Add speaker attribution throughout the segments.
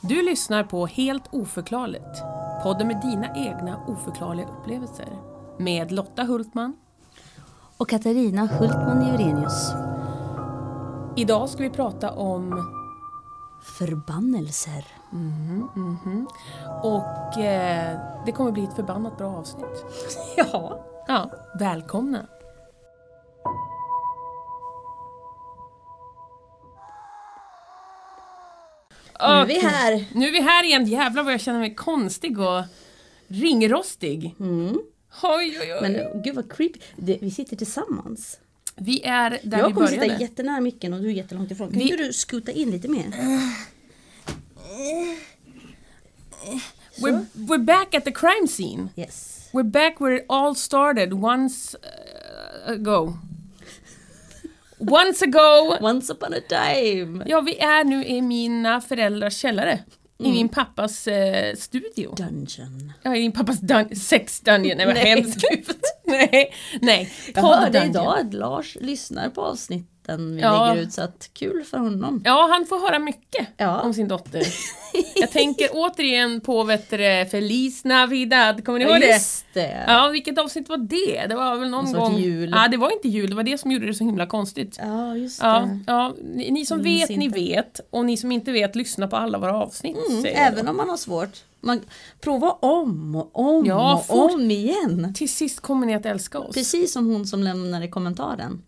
Speaker 1: Du lyssnar på Helt oförklarligt. Podden med dina egna oförklarliga upplevelser. Med Lotta Hultman.
Speaker 2: Och Katarina Hultman Jurenius.
Speaker 1: Idag ska vi prata om...
Speaker 2: Förbannelser.
Speaker 1: Och eh, det kommer bli ett förbannat bra avsnitt.
Speaker 2: Ja.
Speaker 1: Ja, välkomna.
Speaker 2: Nu är vi här.
Speaker 1: Nu är vi här igen. Jävlar vad jag känner mig konstig och ringrostig. Oj, oj, oj.
Speaker 2: Mm. Men gud vad creepy. Det, vi sitter tillsammans.
Speaker 1: vi är där vi
Speaker 2: jag kommer
Speaker 1: började.
Speaker 2: sitta jättenära micken och du är jättelångt ifrån. Kan
Speaker 1: Vi-
Speaker 2: inte du skuta in lite mer?
Speaker 1: We're, we're back at the crime scene.
Speaker 2: Yes.
Speaker 1: We're back where it all started once uh, ago. Once ago!
Speaker 2: Once upon a time.
Speaker 1: Ja, vi är nu i mina föräldrars källare.
Speaker 2: Mm.
Speaker 1: I min pappas eh, studio.
Speaker 2: Dungeon.
Speaker 1: Ja, i min pappas dun- sex dungeon. Nej, vad
Speaker 2: Nej,
Speaker 1: hemskt. Nej, nej.
Speaker 2: Jag
Speaker 1: Podd
Speaker 2: hörde
Speaker 1: dungeon.
Speaker 2: idag att Lars lyssnar på avsnitten vi
Speaker 1: Ja.
Speaker 2: lägger ut så att kul för honom.
Speaker 1: Ja, han får höra mycket
Speaker 2: Ja.
Speaker 1: om sin dotter. Jag tänker återigen på vet du, det, Feliz Navidad, kommer ni ihåg det?
Speaker 2: Just det.
Speaker 1: Ja, vilket avsnitt var det? Det var väl någon
Speaker 2: Någon sorts
Speaker 1: gång...
Speaker 2: jul.
Speaker 1: Ja, det var inte jul, det var det som gjorde det så himla konstigt.
Speaker 2: Ja, just det.
Speaker 1: Ja, ja. Ni, ni som
Speaker 2: Minns
Speaker 1: vet, ni
Speaker 2: inte.
Speaker 1: vet. Och ni som inte vet, lyssna på alla våra avsnitt. säger jag då.
Speaker 2: Mm, Även om man har svårt. Man prova om och om
Speaker 1: Ja,
Speaker 2: och
Speaker 1: fort-
Speaker 2: om igen.
Speaker 1: Till sist kommer ni att älska oss. Precis,
Speaker 2: Precis som hon som lämnade kommentaren.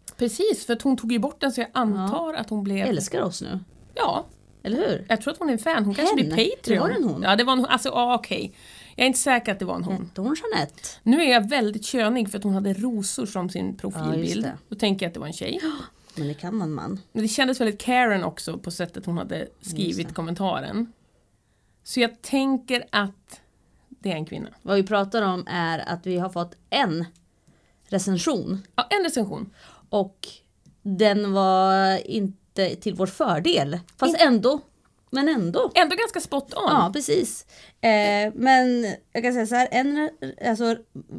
Speaker 1: för att hon tog ju bort den så jag antar att hon blev...
Speaker 2: Älskar oss nu,
Speaker 1: Ja,
Speaker 2: eller hur?
Speaker 1: jag tror att hon är en fan. Hon kanske
Speaker 2: Hen?
Speaker 1: blir Patreon.
Speaker 2: Det var en hon.
Speaker 1: Ja, det var en hon. Mm. Alltså, ja okej. Jag är inte säker att det var en hon.
Speaker 2: Hette hon Jeanette?
Speaker 1: Nu är jag väldigt könig för att hon hade rosor som sin profilbild.
Speaker 2: det.
Speaker 1: Då tänker jag att det var en tjej.
Speaker 2: Men det kan man man.
Speaker 1: Men det kändes väldigt Karen också på sättet hon hade skrivit kommentaren. Så jag tänker att det är en kvinna.
Speaker 2: Vad vi pratar om är att vi har fått en recension
Speaker 1: Ja, en recension.
Speaker 2: och den var inte till vår fördel. Fast ändå. Men ändå.
Speaker 1: Ändå ganska spot on.
Speaker 2: Ja, precis. Eh, men jag kan säga så här, en re- alltså,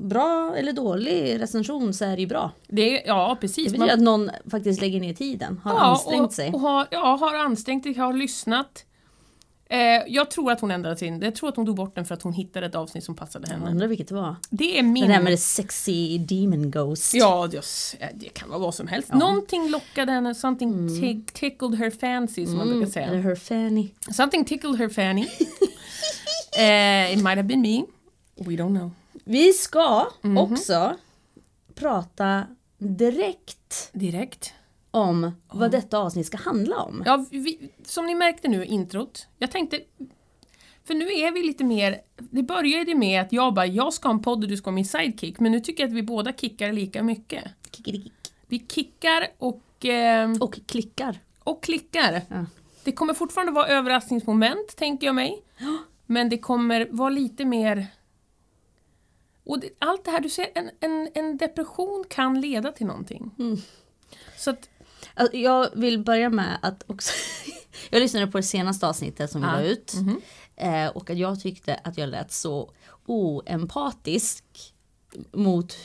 Speaker 2: bra eller dålig recension så är det ju bra.
Speaker 1: Det är, ja
Speaker 2: Det
Speaker 1: precis.
Speaker 2: betyder
Speaker 1: Man-
Speaker 2: att någon faktiskt lägger ner tiden, har
Speaker 1: ja,
Speaker 2: ansträngt
Speaker 1: och,
Speaker 2: sig.
Speaker 1: Och har, ja, har ansträngt sig, har lyssnat. Eh, jag tror att hon ändrade sin. Jag tror att hon tog bort den för att hon hittade ett avsnitt som passade henne.
Speaker 2: Undrar vilket det var.
Speaker 1: Det är min...
Speaker 2: Det där med det sexy demon ghost.
Speaker 1: Ja, just, eh, det kan vara vad som helst. Någonting lockade henne, something
Speaker 2: Mm.
Speaker 1: tick- tickled her fancy som man brukar säga.
Speaker 2: Eller her fanny.
Speaker 1: Something tickled her fanny. eh, it might have been me. We don't know.
Speaker 2: Vi ska också prata direkt
Speaker 1: Direkt.
Speaker 2: om vad detta avsnitt ska handla om.
Speaker 1: Ja, vi, som ni märkte nu i introt, jag tänkte för nu är vi lite mer, det började med att jag bara, jag ska ha en podd och du ska ha min sidekick, men nu tycker jag att vi båda kickar lika mycket.
Speaker 2: Kikirikik.
Speaker 1: Vi kickar och, eh,
Speaker 2: Och klickar.
Speaker 1: och klickar.
Speaker 2: Ja.
Speaker 1: Det kommer fortfarande vara överraskningsmoment, tänker jag mig. Men det kommer vara lite mer... Och det, allt det här du ser, en, en, en depression kan leda till någonting.
Speaker 2: Mm.
Speaker 1: Så att,
Speaker 2: Alltså, Jag vill börja med att också... jag lyssnade på det senaste avsnittet som vi
Speaker 1: Ja.
Speaker 2: la ut. Eh, Och att jag tyckte att jag lät så oempatisk mot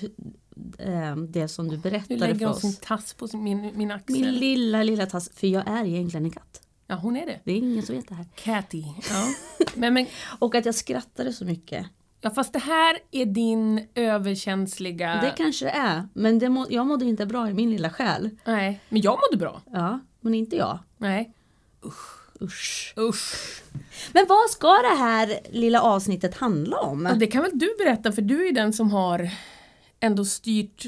Speaker 2: eh, det som du
Speaker 1: nu
Speaker 2: berättade
Speaker 1: lägger
Speaker 2: för
Speaker 1: hon sin
Speaker 2: oss.
Speaker 1: tass på sin, min, min axel.
Speaker 2: Min lilla, lilla tass. För jag är egentligen en katt.
Speaker 1: ja, hon är det.
Speaker 2: Det är ingen som vet det här.
Speaker 1: Catty. Ja. Men, men,
Speaker 2: Och att jag skrattade så mycket.
Speaker 1: ja, fast det här är din överkänsliga...
Speaker 2: Det kanske det är, men det må, jag mådde inte bra i min lilla själ.
Speaker 1: Nej, men jag mådde bra.
Speaker 2: Ja, men inte jag.
Speaker 1: Nej.
Speaker 2: Usch.
Speaker 1: Usch.
Speaker 2: Men vad ska det här lilla avsnittet handla om?
Speaker 1: Ja, det kan väl du berätta för du är den som har ändå styrt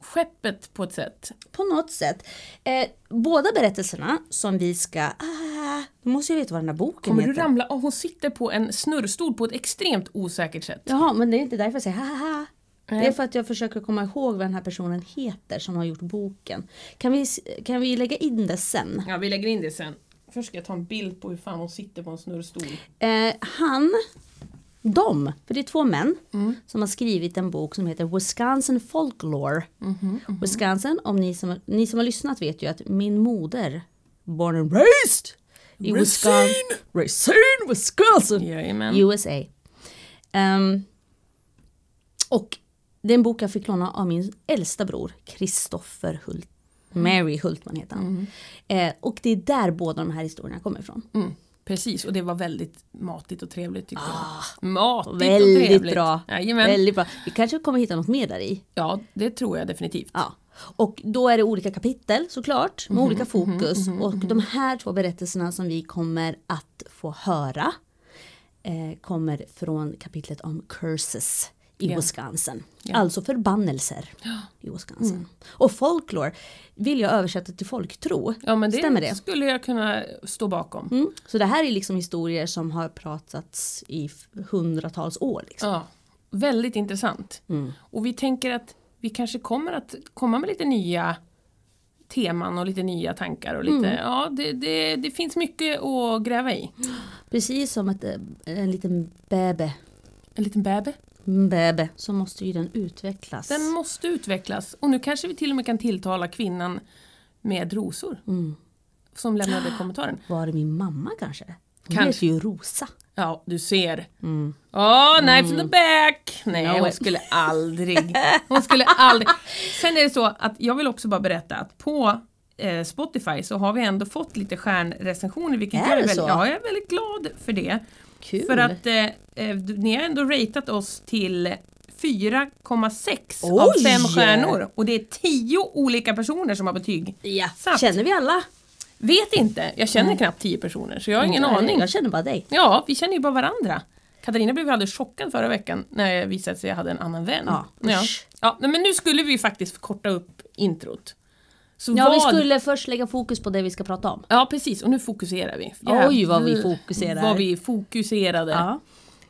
Speaker 1: skeppet på ett sätt.
Speaker 2: På något sätt. Eh, båda berättelserna som vi ska... Ah, nu måste jag veta vad den här boken
Speaker 1: Kommer du
Speaker 2: heter.
Speaker 1: ramla av? Hon sitter på en snurrstol på ett extremt osäkert sätt.
Speaker 2: Jaha, men det är inte därför jag säger haha. Det är
Speaker 1: Nej.
Speaker 2: för att jag försöker komma ihåg vad den här personen heter som har gjort boken. Kan vi, s- kan vi lägga in det sen?
Speaker 1: Ja, vi lägger in det sen. Först ska jag ta en bild på hur fan hon sitter på en snurrstol.
Speaker 2: Eh, han, de, för det är två män som har skrivit en bok som heter Wisconsin Folklore. Wisconsin, om ni som, ni som har lyssnat vet ju att min moder, born and raised i Wisconsin, Racine, Wisconsin,
Speaker 1: Jajamän.
Speaker 2: USA. Ehm, och det är en bok jag fick låna av min äldsta bror, Kristoffer Hult. Mary Hultman heter han. Eh, och det är där båda de här historierna kommer ifrån.
Speaker 1: Mm. Precis, och det var väldigt matigt och trevligt tyckte
Speaker 2: Ah,
Speaker 1: jag. Matigt och
Speaker 2: väldigt
Speaker 1: trevligt.
Speaker 2: bra.
Speaker 1: Jajamän.
Speaker 2: Väldigt bra. Vi kanske kommer hitta något mer där i.
Speaker 1: Ja, det tror jag definitivt.
Speaker 2: Ja. Och då är det olika kapitel såklart
Speaker 1: Mhm,
Speaker 2: med olika fokus och de här två berättelserna som vi kommer att få höra eh, kommer från kapitlet om curses i
Speaker 1: Ja.
Speaker 2: Wisconsin.
Speaker 1: Ja. Mm.
Speaker 2: Alltså förbannelser i Wisconsin. Och folklore vill jag översätta till folktro.
Speaker 1: Ja, men det
Speaker 2: Stämmer det?
Speaker 1: skulle jag kunna stå bakom.
Speaker 2: Mm. Så det här är liksom historier som har pratats i f- hundratals år. Liksom. Mm.
Speaker 1: Ja, väldigt intressant. Och vi tänker att vi kanske kommer att komma med lite nya teman och lite nya tankar. Och lite, ja, det, det, det finns mycket att gräva i.
Speaker 2: Precis som att eh, en liten bebe,
Speaker 1: En liten bebis.
Speaker 2: bebe så måste ju den utvecklas.
Speaker 1: Den måste utvecklas. Och nu kanske vi till och med kan tilltala kvinnan med rosor. Som lämnade kommentaren.
Speaker 2: Var det min mamma kanske? Hon
Speaker 1: Kanske.
Speaker 2: heter ju Rosa.
Speaker 1: Ja, du ser.
Speaker 2: Mm.
Speaker 1: Åh, knife in the back! Nej,
Speaker 2: No way.
Speaker 1: hon skulle aldrig. Hon skulle aldrig. Sen är det så att jag vill också bara berätta att på eh, Spotify så har vi ändå fått lite stjärnrecensioner vilket
Speaker 2: Är
Speaker 1: jag är
Speaker 2: det
Speaker 1: väldigt,
Speaker 2: så?
Speaker 1: ja, jag är väldigt glad för det.
Speaker 2: Kul.
Speaker 1: För att eh, eh, du- ni har ändå ratat oss till 4,6 av
Speaker 2: Oj!
Speaker 1: 5 stjärnor och det är 10 olika personer som har betyg.
Speaker 2: Ja.
Speaker 1: Sant.
Speaker 2: Känner vi alla?
Speaker 1: Vet inte, jag känner knappt 10 personer så jag har ingen
Speaker 2: Mm. Nej,
Speaker 1: aning.
Speaker 2: Jag känner bara dig.
Speaker 1: Ja, vi känner ju bara varandra. Katarina blev ju alldeles chockad förra veckan när jag visade sig att jag hade en annan vän.
Speaker 2: Ja,
Speaker 1: ja.
Speaker 2: usch.
Speaker 1: ja nej, men nu skulle vi ju faktiskt korta upp introt. Så
Speaker 2: Ja, vi
Speaker 1: vad-
Speaker 2: skulle först lägga fokus på det vi ska prata om.
Speaker 1: Ja, precis. Och nu fokuserar vi.
Speaker 2: Oj, vad vi
Speaker 1: Jävlar,
Speaker 2: fokuserar.
Speaker 1: Vad vi fokuserade.
Speaker 2: Ja.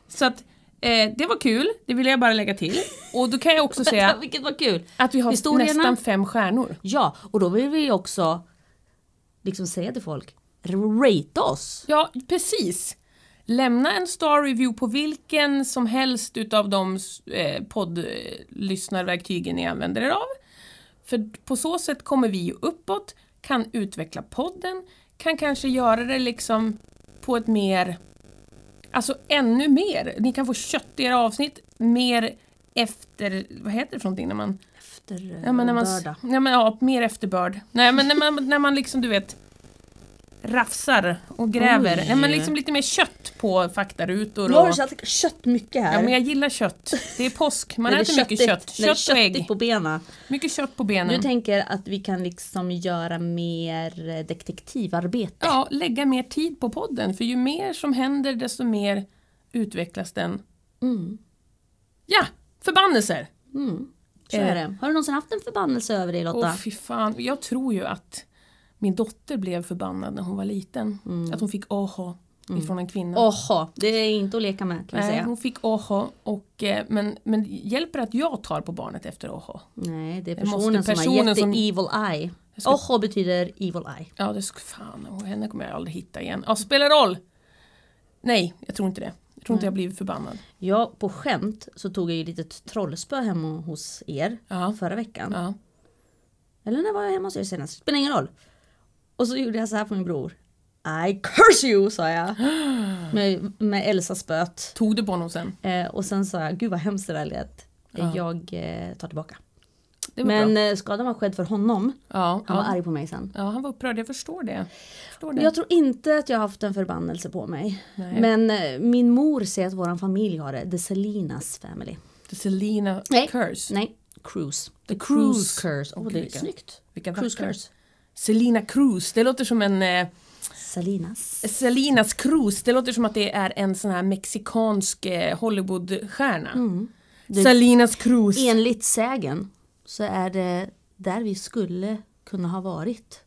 Speaker 1: Så att, eh, det var kul, det ville jag bara lägga till. Och då kan jag också
Speaker 2: Vänta,
Speaker 1: säga
Speaker 2: vilket var kul!
Speaker 1: att vi har
Speaker 2: Historierna.
Speaker 1: nästan fem stjärnor.
Speaker 2: Ja, och då vill vi ju också liksom säga till folk, rate oss!
Speaker 1: Ja, precis. Lämna en star review på vilken som helst utav de eh, poddlyssnarverktygen ni använder er av. För på så sätt kommer vi ju uppåt, kan utveckla podden, kan kanske göra det liksom på ett mer, alltså ännu mer. Ni kan få köttigare avsnitt, mer efter, vad heter det för någonting när man
Speaker 2: Efter eh,
Speaker 1: Ja, men när man,
Speaker 2: börda.
Speaker 1: ja, men, ja, mer efterbörd. Nej men när man, när man liksom du vet rafsar och gräver.
Speaker 2: Oj.
Speaker 1: Nej, men liksom lite mer kött på faktarutor.
Speaker 2: Nu har
Speaker 1: Och,
Speaker 2: du satt kött mycket här.
Speaker 1: ja men jag gillar kött. Det är påsk, man
Speaker 2: När det
Speaker 1: äter
Speaker 2: är
Speaker 1: mycket kött. Mm.
Speaker 2: köttigt- när det är
Speaker 1: Kött och ägg.
Speaker 2: köttigt på benen.
Speaker 1: Mycket kött på
Speaker 2: Du
Speaker 1: benen.
Speaker 2: tänker att vi kan liksom göra mer eh, detektivarbete?
Speaker 1: Ja, lägga mer tid på podden för ju mer som händer desto mer utvecklas den.
Speaker 2: Mm.
Speaker 1: Ja, förbannelser!
Speaker 2: Mm. Så
Speaker 1: Eh.
Speaker 2: är det. Har du någonsin haft en förbannelse över dig Lotta?
Speaker 1: Åh fy fan, jag tror ju att min dotter blev förbannad när hon var liten.
Speaker 2: Mm.
Speaker 1: Att hon fick aha ifrån en kvinna.
Speaker 2: Oho, det är inte att leka med kan vi
Speaker 1: Nej,
Speaker 2: säga.
Speaker 1: hon fick aha och eh, men, men hjälper det att jag tar på barnet efter aha?
Speaker 2: Nej, det är
Speaker 1: Det måste
Speaker 2: personen, som har
Speaker 1: personen
Speaker 2: gett
Speaker 1: som-
Speaker 2: dig evil eye.
Speaker 1: Jag ska-
Speaker 2: Oho betyder evil eye.
Speaker 1: Ja, det ska fan, och henne kommer jag aldrig hitta igen. Ja, spelar roll! Nej, jag tror inte det. Jag tror inte jag blivit förbannad.
Speaker 2: Jag på skämt så tog jag ju lite trollspö hemma hos er
Speaker 1: Ja.
Speaker 2: förra veckan.
Speaker 1: Ja.
Speaker 2: Eller när var jag hemma hos er senast? Spelar ingen roll. Och så gjorde jag så här på min bror. I curse you sa jag. Med, med Elsa spöt.
Speaker 1: Tog du på honom sen?
Speaker 2: Eh, och sen sa jag, gud vad hemskt det där lät.
Speaker 1: Ja.
Speaker 2: Jag eh, tar tillbaka.
Speaker 1: Det var
Speaker 2: Men
Speaker 1: bra.
Speaker 2: eh, skadan var skedd för honom.
Speaker 1: Ja,
Speaker 2: Han var
Speaker 1: ja.
Speaker 2: arg på mig sen.
Speaker 1: ja, han var upprörd. Jag förstår det. Jag Förstår det.
Speaker 2: Jag tror inte att jag har haft en förbannelse på mig.
Speaker 1: Nej.
Speaker 2: Men eh, min mor säger att våran familj har det. The Selinas family.
Speaker 1: The Selena
Speaker 2: Nej.
Speaker 1: Curse.
Speaker 2: Nej, Cruise.
Speaker 1: The
Speaker 2: Cruise
Speaker 1: Cruise.
Speaker 2: Curse. Åh,
Speaker 1: Gud,
Speaker 2: det är
Speaker 1: vilka-
Speaker 2: snyggt.
Speaker 1: Vilka
Speaker 2: Cruise
Speaker 1: vackra.
Speaker 2: Curse.
Speaker 1: Selena Cruz, det låter som en... Eh,
Speaker 2: Salinas.
Speaker 1: Selinas Cruz, det låter som att det är en sån här mexikansk eh, Hollywoodstjärna. Selinas Cruz.
Speaker 2: Mm. Enligt sägen så är det där vi skulle kunna ha varit.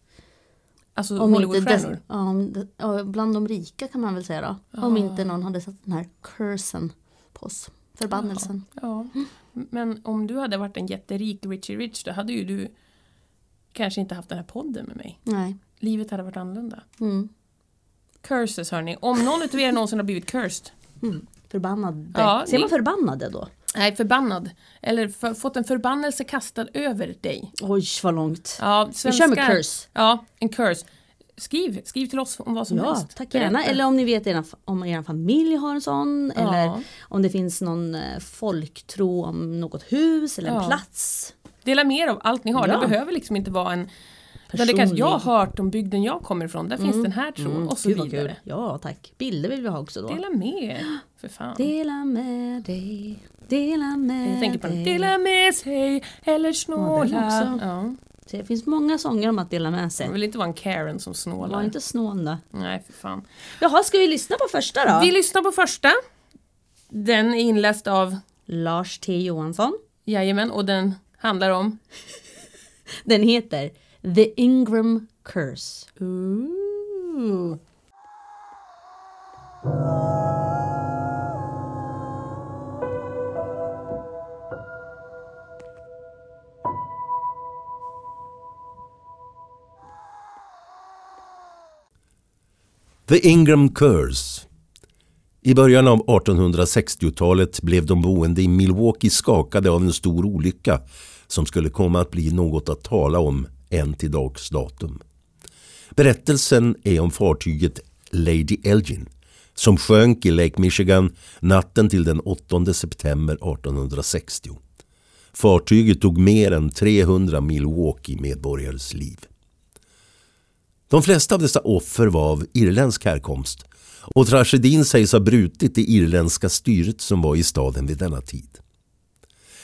Speaker 1: Alltså
Speaker 2: inte
Speaker 1: Hollywoodstjärnor?
Speaker 2: dess- ja, om det- ja, bland de rika kan man väl säga då. Om inte någon hade satt den här cursen på oss. Förbannelsen.
Speaker 1: Ja. Men om du hade varit en jätterik Richie Rich då hade ju du kanske inte haft den här podden med mig.
Speaker 2: Nej.
Speaker 1: Livet hade varit annorlunda.
Speaker 2: Mm.
Speaker 1: Curses hörni, om någon utav er någonsin har blivit cursed,
Speaker 2: Mm. Förbannade.
Speaker 1: Ja,
Speaker 2: Ser
Speaker 1: ni-
Speaker 2: man förbannade då?
Speaker 1: nej förbannad, eller f- fått en förbannelse kastad över dig.
Speaker 2: Oj vad långt.
Speaker 1: Ja,
Speaker 2: Vi kör med
Speaker 1: svenskar-
Speaker 2: curse.
Speaker 1: Ja, en curse. Skriv, skriv till oss om vad som
Speaker 2: Ja,
Speaker 1: helst.
Speaker 2: tack gärna.
Speaker 1: Berätta.
Speaker 2: Eller om ni vet era, om er familj har en sån.
Speaker 1: Ja.
Speaker 2: Eller om det finns någon eh, folktro om något hus eller en
Speaker 1: Ja.
Speaker 2: plats.
Speaker 1: Dela med er av allt ni har.
Speaker 2: Ja.
Speaker 1: Det behöver liksom inte vara en Men det kanske,
Speaker 2: personlig. Mm.
Speaker 1: jag har hört om bygden jag kommer ifrån, där finns den här tron och så
Speaker 2: Gud, vad kul.
Speaker 1: vidare.
Speaker 2: Ja tack. Bilder vill vi ha också då. Dela,
Speaker 1: Dela med er, för fan.
Speaker 2: med dig. Dela med
Speaker 1: jag tänker på den.
Speaker 2: dig.
Speaker 1: Dela med sig eller
Speaker 2: Ja,
Speaker 1: snåla.
Speaker 2: den också.
Speaker 1: Ja,
Speaker 2: Så det finns många sånger om att dela med
Speaker 1: Jag
Speaker 2: sig.
Speaker 1: vill inte vara en Karen som
Speaker 2: Var
Speaker 1: snålar.
Speaker 2: inte snål då.
Speaker 1: Nej, för fan.
Speaker 2: Jaha, ska vi lyssna på första då?
Speaker 1: Vi lyssnar på första. Den är inläst av,
Speaker 2: Lars T Johansson.
Speaker 1: jajamän, och den handlar om
Speaker 2: Den heter The Ingram Curse.
Speaker 1: Ooh.
Speaker 3: The Ingram Curse. I början av 1860-talet blev de boende i Milwaukee skakade av en stor olycka som skulle komma att bli något att tala om än till dags datum. Berättelsen är om fartyget Lady Elgin som sjönk i Lake Michigan natten till den 8 september 1860. Fartyget tog mer än 300 Milwaukee-medborgares liv. De flesta av dessa offer var av irländsk härkomst och tragedin sägs ha brutit det irländska styret som var i staden vid denna tid.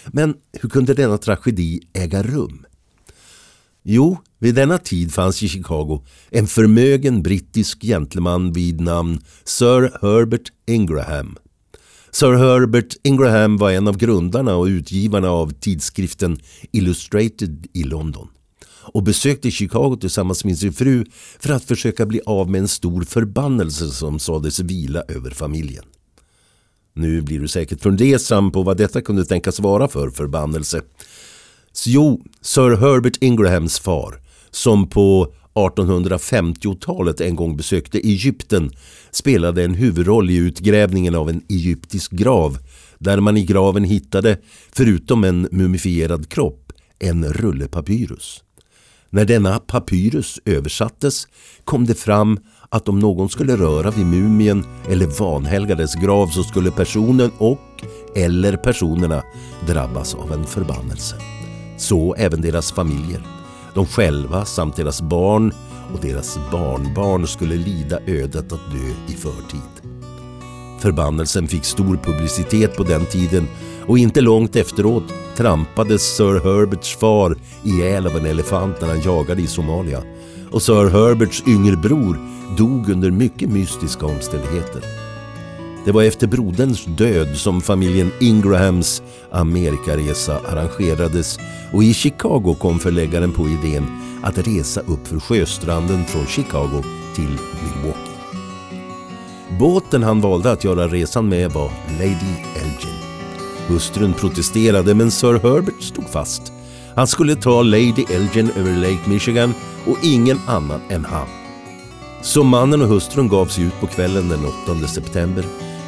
Speaker 3: Men hur kunde denna tragedi äga rum? Jo, vid denna tid fanns i Chicago en förmögen brittisk gentleman vid namn Sir Herbert Ingraham. Sir Herbert Ingraham var en av grundarna och utgivarna av tidskriften Illustrated i London och besökte Chicago tillsammans med sin fru för att försöka bli av med en stor förbannelse som sades vila över familjen. Nu blir du säkert fundersam på vad detta kunde tänkas vara för förbannelse. Så Jo, Sir Herbert Ingrahams far, som på 1850-talet en gång besökte Egypten, spelade en huvudroll i utgrävningen av en egyptisk grav, där man i graven hittade, förutom en mumifierad kropp, en rulle papyrus. När denna papyrus översattes kom det fram att om någon skulle röra vid mumien eller vanhelgades grav så skulle personen och eller personerna drabbas av en förbannelse. Så även deras familjer. De själva samt deras barn och deras barnbarn skulle lida ödet att dö i förtid. Förbannelsen fick stor publicitet på den tiden och inte långt efteråt trampades Sir Herberts far ihjäl av en elefant när han jagade i Somalia. Och Sir Herberts yngre dog under mycket mystiska omständigheter. Det var efter broderns död som familjen Ingrahams Amerikaresa arrangerades och i Chicago kom förläggaren på idén att resa upp för sjöstranden från Chicago till Milwaukee. Båten han valde att göra resan med var Lady Elgin. Hustrun protesterade men Sir Herbert stod fast. Han skulle ta Lady Elgin över Lake Michigan och ingen annan än han. Så mannen och hustrun gav sig ut på kvällen den 8 september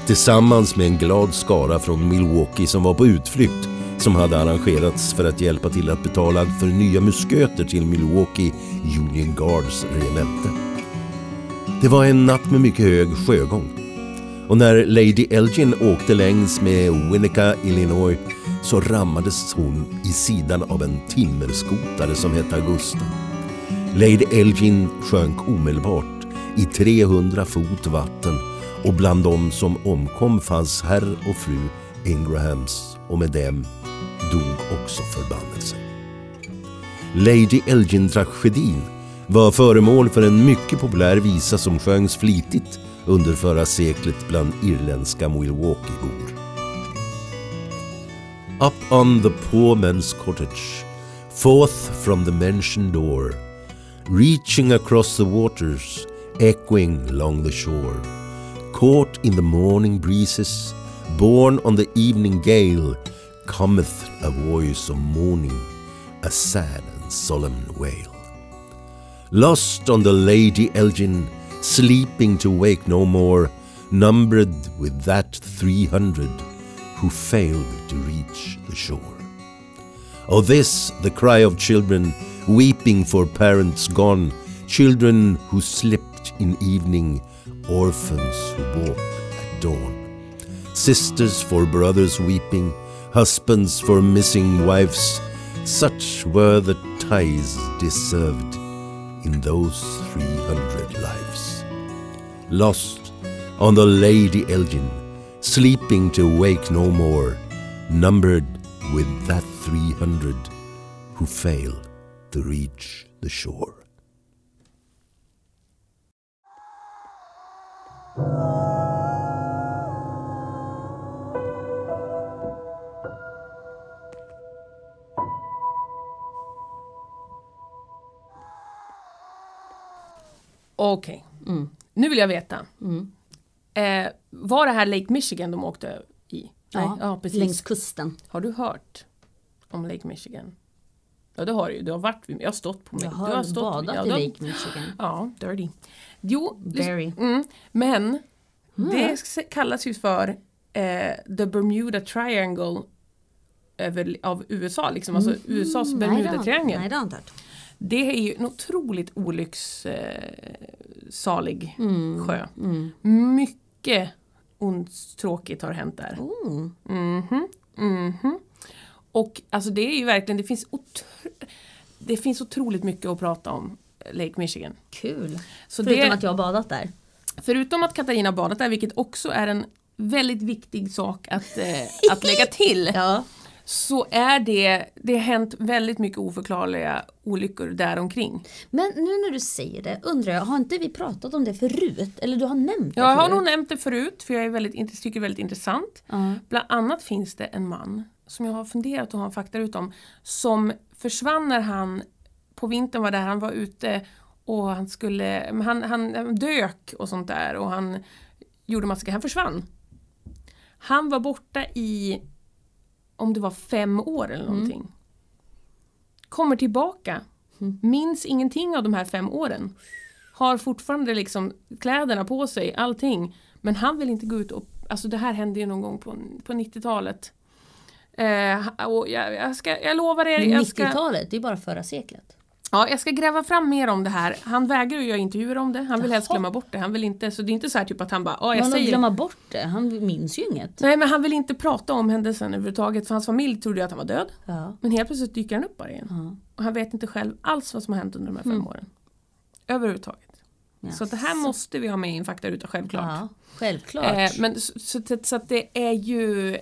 Speaker 3: tillsammans med en glad skara från Milwaukee som var på utflykt som hade arrangerats för att hjälpa till att betala för nya musköter till Milwaukee Union Guards regemente. Det var en natt med mycket hög sjögång. Och när Lady Elgin åkte längs med Winnica, Illinois så rammades hon i sidan av en timmerskotare som hette Augusta. Lady Elgin sjönk omedelbart i 300 fot vatten och bland de som omkom fanns herr och fru Ingrahams och med dem dog också förbannelsen. Lady Elgin-tragedin var föremål för en mycket populär visa som sjöngs flitigt under förra seklet bland irländska Milwaukee-bor. Up on the poor man's cottage, forth from the mansion door, reaching across the waters, echoing along the shore, caught in the morning breezes, borne on the evening gale, cometh a voice of mourning, a sad and solemn wail. Lost on the Lady Elgin, sleeping to wake no more, numbered with that 300 who failed to reach the shore. Of this, the cry of children weeping for parents gone, children who slipped in evening, orphans who walk at dawn, sisters for brothers weeping, husbands for missing wives. Such were the ties deserved in those 300 lives. Lost on the Lady Elgin, sleeping to wake no more, numbered with that 300 who fail to reach the shore.
Speaker 1: Okej.
Speaker 2: Mm.
Speaker 1: Nu vill jag veta. Eh, var det här Lake Michigan de åkte i? Nej,
Speaker 2: Ja,
Speaker 1: ja precis.
Speaker 2: längs kusten.
Speaker 1: Har du hört om Lake Michigan? Ja det har du ju. Du har varit vid Jag har stått på mig.
Speaker 2: Jag
Speaker 1: du
Speaker 2: har
Speaker 1: stått
Speaker 2: badat
Speaker 1: vid- ja, du
Speaker 2: i
Speaker 1: har- Mm,
Speaker 2: Lake Michigan.
Speaker 1: Ja, dirty. Jo, lys-
Speaker 2: Very.
Speaker 1: Mm, men
Speaker 2: Mm.
Speaker 1: det s- kallas ju för eh, the Bermuda Triangle över, av USA liksom. Alltså USAs Bermuda-triangel.
Speaker 2: Mm. Nej, det har jag inte hört.
Speaker 1: Det är ju en otroligt olyckssalig eh, salig
Speaker 2: Mm.
Speaker 1: sjö. Mycket ont tråkigt har hänt där.
Speaker 2: Oh.
Speaker 1: Och alltså det är ju verkligen, det finns, otro, det finns otroligt mycket att prata om eh, Lake Michigan.
Speaker 2: Kul.
Speaker 1: Så
Speaker 2: Förutom
Speaker 1: det-
Speaker 2: att jag har badat där.
Speaker 1: Förutom att Katarina har badat där, vilket också är en väldigt viktig sak att, eh, att lägga till,
Speaker 2: Ja.
Speaker 1: så är det, det har hänt väldigt mycket oförklarliga olyckor däromkring.
Speaker 2: Men nu när du säger det undrar jag, har inte vi pratat om det förut? Eller du har nämnt det
Speaker 1: Jag har
Speaker 2: förut?
Speaker 1: nog nämnt det förut, för jag är väldigt, int- tycker det är väldigt intressant.
Speaker 2: Ja.
Speaker 1: Bland annat finns det en man som jag har funderat och har en faktaruta om som försvann när han på vintern var där, han var ute och han skulle, men han, han, han dök och sånt där och han gjorde massa grejer, han försvann. Han var borta i, om det var fem år eller
Speaker 2: Mm.
Speaker 1: någonting. Kommer tillbaka,
Speaker 2: Mm.
Speaker 1: minns ingenting av de här fem åren. Har fortfarande liksom kläderna på sig, allting. Men han vill inte gå ut och, alltså det här hände ju någon gång på, på 90-talet. Eh, och jag, jag, ska, jag lovar er,
Speaker 2: Men
Speaker 1: jag ska...
Speaker 2: 90-talet, det är bara förra seklet.
Speaker 1: Ja, jag ska gräva fram mer om det här. Han vägrar ju göra intervjuer om det. Han vill helst
Speaker 2: Jaha.
Speaker 1: glömma bort det. Han vill inte, så det är inte så här typ att han bara, ja jag
Speaker 2: Man
Speaker 1: säger
Speaker 2: glömmer bort det, han minns ju inget.
Speaker 1: Nej men han vill inte prata om händelsen överhuvudtaget för hans familj trodde ju att han var död.
Speaker 2: Ja.
Speaker 1: Men helt plötsligt dyker han upp bara igen.
Speaker 2: Ja. Mm.
Speaker 1: Och han vet inte själv alls vad som har hänt under de här fem åren. Överhuvudtaget. Så att det här måste vi ha med i en faktaruta självklart.
Speaker 2: Ja, självklart.
Speaker 1: eh, men, så, så, att- så att det är ju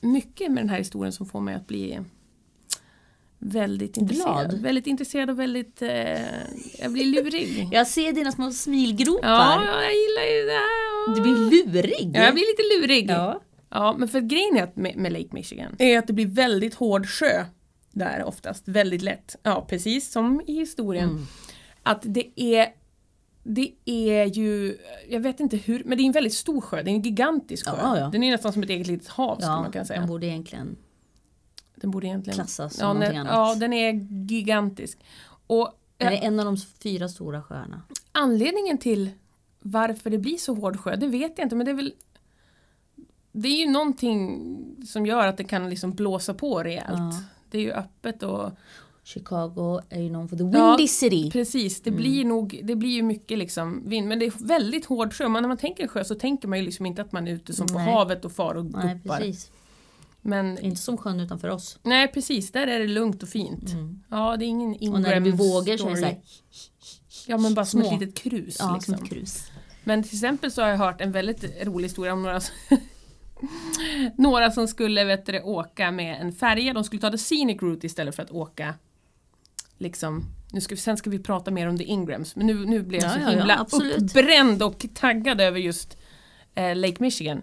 Speaker 1: mycket med den här historien som får mig att bli väldigt intresserad.
Speaker 2: Glad.
Speaker 1: Väldigt intresserad och väldigt... Eh, jag blir lurig.
Speaker 2: Jag ser dina små smilgropar.
Speaker 1: Ja, jag gillar ju det här.
Speaker 2: Du blir lurig.
Speaker 1: ja, jag blir lite lurig.
Speaker 2: Ja.
Speaker 1: Ja, men för grejen är att med, med Lake Michigan är att det blir väldigt hård sjö där oftast, väldigt lätt. Ja, precis som i historien. Att det är det är ju, jag vet inte hur, men det är en väldigt stor sjö, det är en gigantisk sjö.
Speaker 2: Ja, ja.
Speaker 1: Den är nästan som ett eget litet hav skulle man kunna
Speaker 2: Ja,
Speaker 1: säga.
Speaker 2: man borde egentligen...
Speaker 1: den borde egentligen
Speaker 2: klassas som
Speaker 1: ja,
Speaker 2: någonting
Speaker 1: den,
Speaker 2: annat.
Speaker 1: Ja, den är gigantisk. Och
Speaker 2: Är det en av de fyra stora sjöarna?
Speaker 1: Anledningen till varför det blir så hård sjö, det vet jag inte men det är väl Det är ju någonting som gör att det kan liksom blåsa på rejält. Det är ju öppet och
Speaker 2: Chicago är ju någon för the Windy
Speaker 1: Ja,
Speaker 2: City.
Speaker 1: Precis,
Speaker 2: Mm.
Speaker 1: det blir nog, det blir ju mycket liksom vind men det är väldigt hård sjö. Man, när man tänker sjö så tänker man ju liksom inte att man är ute som på
Speaker 2: Nej.
Speaker 1: havet och far och
Speaker 2: Nej,
Speaker 1: guppar.
Speaker 2: precis.
Speaker 1: Men
Speaker 2: Inte som sjön utanför oss.
Speaker 1: nej precis, där är det lugnt och fint. Ja det är ingen Ingram
Speaker 2: Mm. Och när det blir vågor så är det så
Speaker 1: story.
Speaker 2: här,
Speaker 1: Ja men bara som
Speaker 2: små.
Speaker 1: ett litet krus.
Speaker 2: ja,
Speaker 1: liksom.
Speaker 2: som ett krus.
Speaker 1: Men till exempel så har jag hört en väldigt rolig historia om några som, några som skulle vet du, det, åka med en färja. De skulle ta the scenic route istället för att åka liksom nu ska vi, sen ska vi prata mer om The Ingrams, men nu, nu blev jag
Speaker 2: Ja,
Speaker 1: så
Speaker 2: ja, ja,
Speaker 1: himla
Speaker 2: absolut.
Speaker 1: uppbränd och taggad över just eh, Lake Michigan.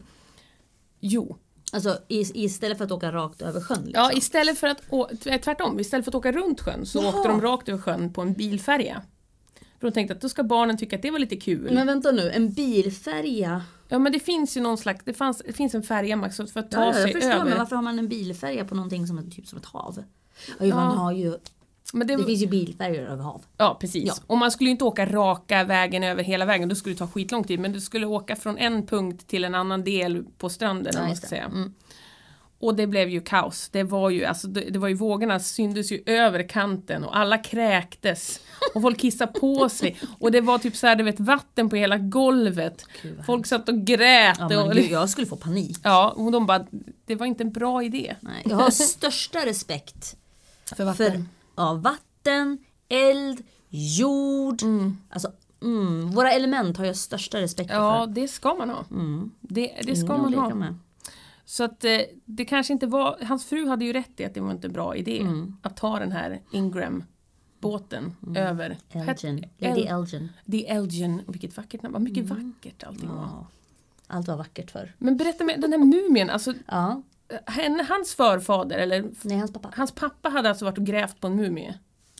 Speaker 1: Jo,
Speaker 2: Alltså i, istället för att åka rakt över sjön. Liksom.
Speaker 1: ja, istället för att, å, tv- eh, tvärtom, istället för att åka runt sjön så
Speaker 2: Jaha.
Speaker 1: åkte de rakt över sjön på en bilfärja. För de tänkte att då ska barnen tycka att det var lite kul.
Speaker 2: Men vänta nu, en bilfärja.
Speaker 1: Ja men det finns ju någon slags, det, fanns, det finns en färja Max för att ta
Speaker 2: Ja, jag
Speaker 1: sig
Speaker 2: förstår
Speaker 1: över.
Speaker 2: men varför har man en bilfärja på någonting som är typ som ett hav? Ja, ju, Man har ju,
Speaker 1: Men det,
Speaker 2: det finns ju bilfärjor över hav.
Speaker 1: ja precis.
Speaker 2: Ja.
Speaker 1: Och man skulle ju inte åka raka vägen över hela vägen, då skulle det ta skitlång tid. Men du skulle åka från en punkt till en annan del på stranden. om man
Speaker 2: just
Speaker 1: ska
Speaker 2: det. Mm.
Speaker 1: säga. Mm. Och det blev ju kaos. Det var ju, alltså, det, det var ju vågorna syndes ju över kanten och alla kräktes. Och folk kissade på sig. Och det var typ så här, du vet, vatten på hela golvet.
Speaker 2: Gud, vad
Speaker 1: folk satt och grät.
Speaker 2: Ja,
Speaker 1: och,
Speaker 2: men gud, jag skulle få panik.
Speaker 1: ja, och de bara, det var inte en bra idé.
Speaker 2: Nej, jag har största respekt
Speaker 1: För
Speaker 2: för ja, vatten, eld, jord. Alltså, mm, våra element har jag största respekt
Speaker 1: Ja,
Speaker 2: för.
Speaker 1: det ska man ha.
Speaker 2: Mm.
Speaker 1: Det, det ska
Speaker 2: Ingen att
Speaker 1: man
Speaker 2: leka
Speaker 1: ha.
Speaker 2: med.
Speaker 1: Så att eh, det kanske inte var, hans fru hade ju rätt i att det var inte en bra idé
Speaker 2: Mm.
Speaker 1: att ta den här Ingram båten över
Speaker 2: Elgin.
Speaker 1: Het-
Speaker 2: Lady
Speaker 1: El-
Speaker 2: Elgin.
Speaker 1: The Elgin, vilket vackert namn, vad mycket vackert allting var.
Speaker 2: Ja. Allt var vackert förr.
Speaker 1: Men berätta med den här mumien, alltså
Speaker 2: Ja,
Speaker 1: henne, hans förfader eller f-
Speaker 2: nej hans pappa.
Speaker 1: hans pappa hade alltså varit och grävt på en mumie.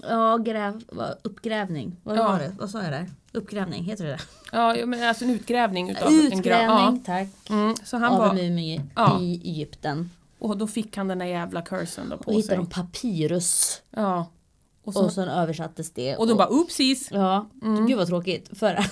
Speaker 2: Ja, gräv, vad- uppgrävning. Vad
Speaker 1: Ja.
Speaker 2: var det? Vad sa jag där? Uppgrävning, heter det det?
Speaker 1: Ja, jag menar, alltså en utgrävning utav en grav.
Speaker 2: Utgrävning,
Speaker 1: Ja.
Speaker 2: tack.
Speaker 1: Mm, så han
Speaker 2: Av en
Speaker 1: var,
Speaker 2: mumie
Speaker 1: Ja.
Speaker 2: i Egypten.
Speaker 1: och då fick han den där jävla cursen då
Speaker 2: Och
Speaker 1: på
Speaker 2: hittade
Speaker 1: sig.
Speaker 2: de papyrus.
Speaker 1: Ja. Och, så,
Speaker 2: Och sen översattes det.
Speaker 1: och då bara oopsies!
Speaker 2: Ja,
Speaker 1: Mm.
Speaker 2: gud vad tråkigt. För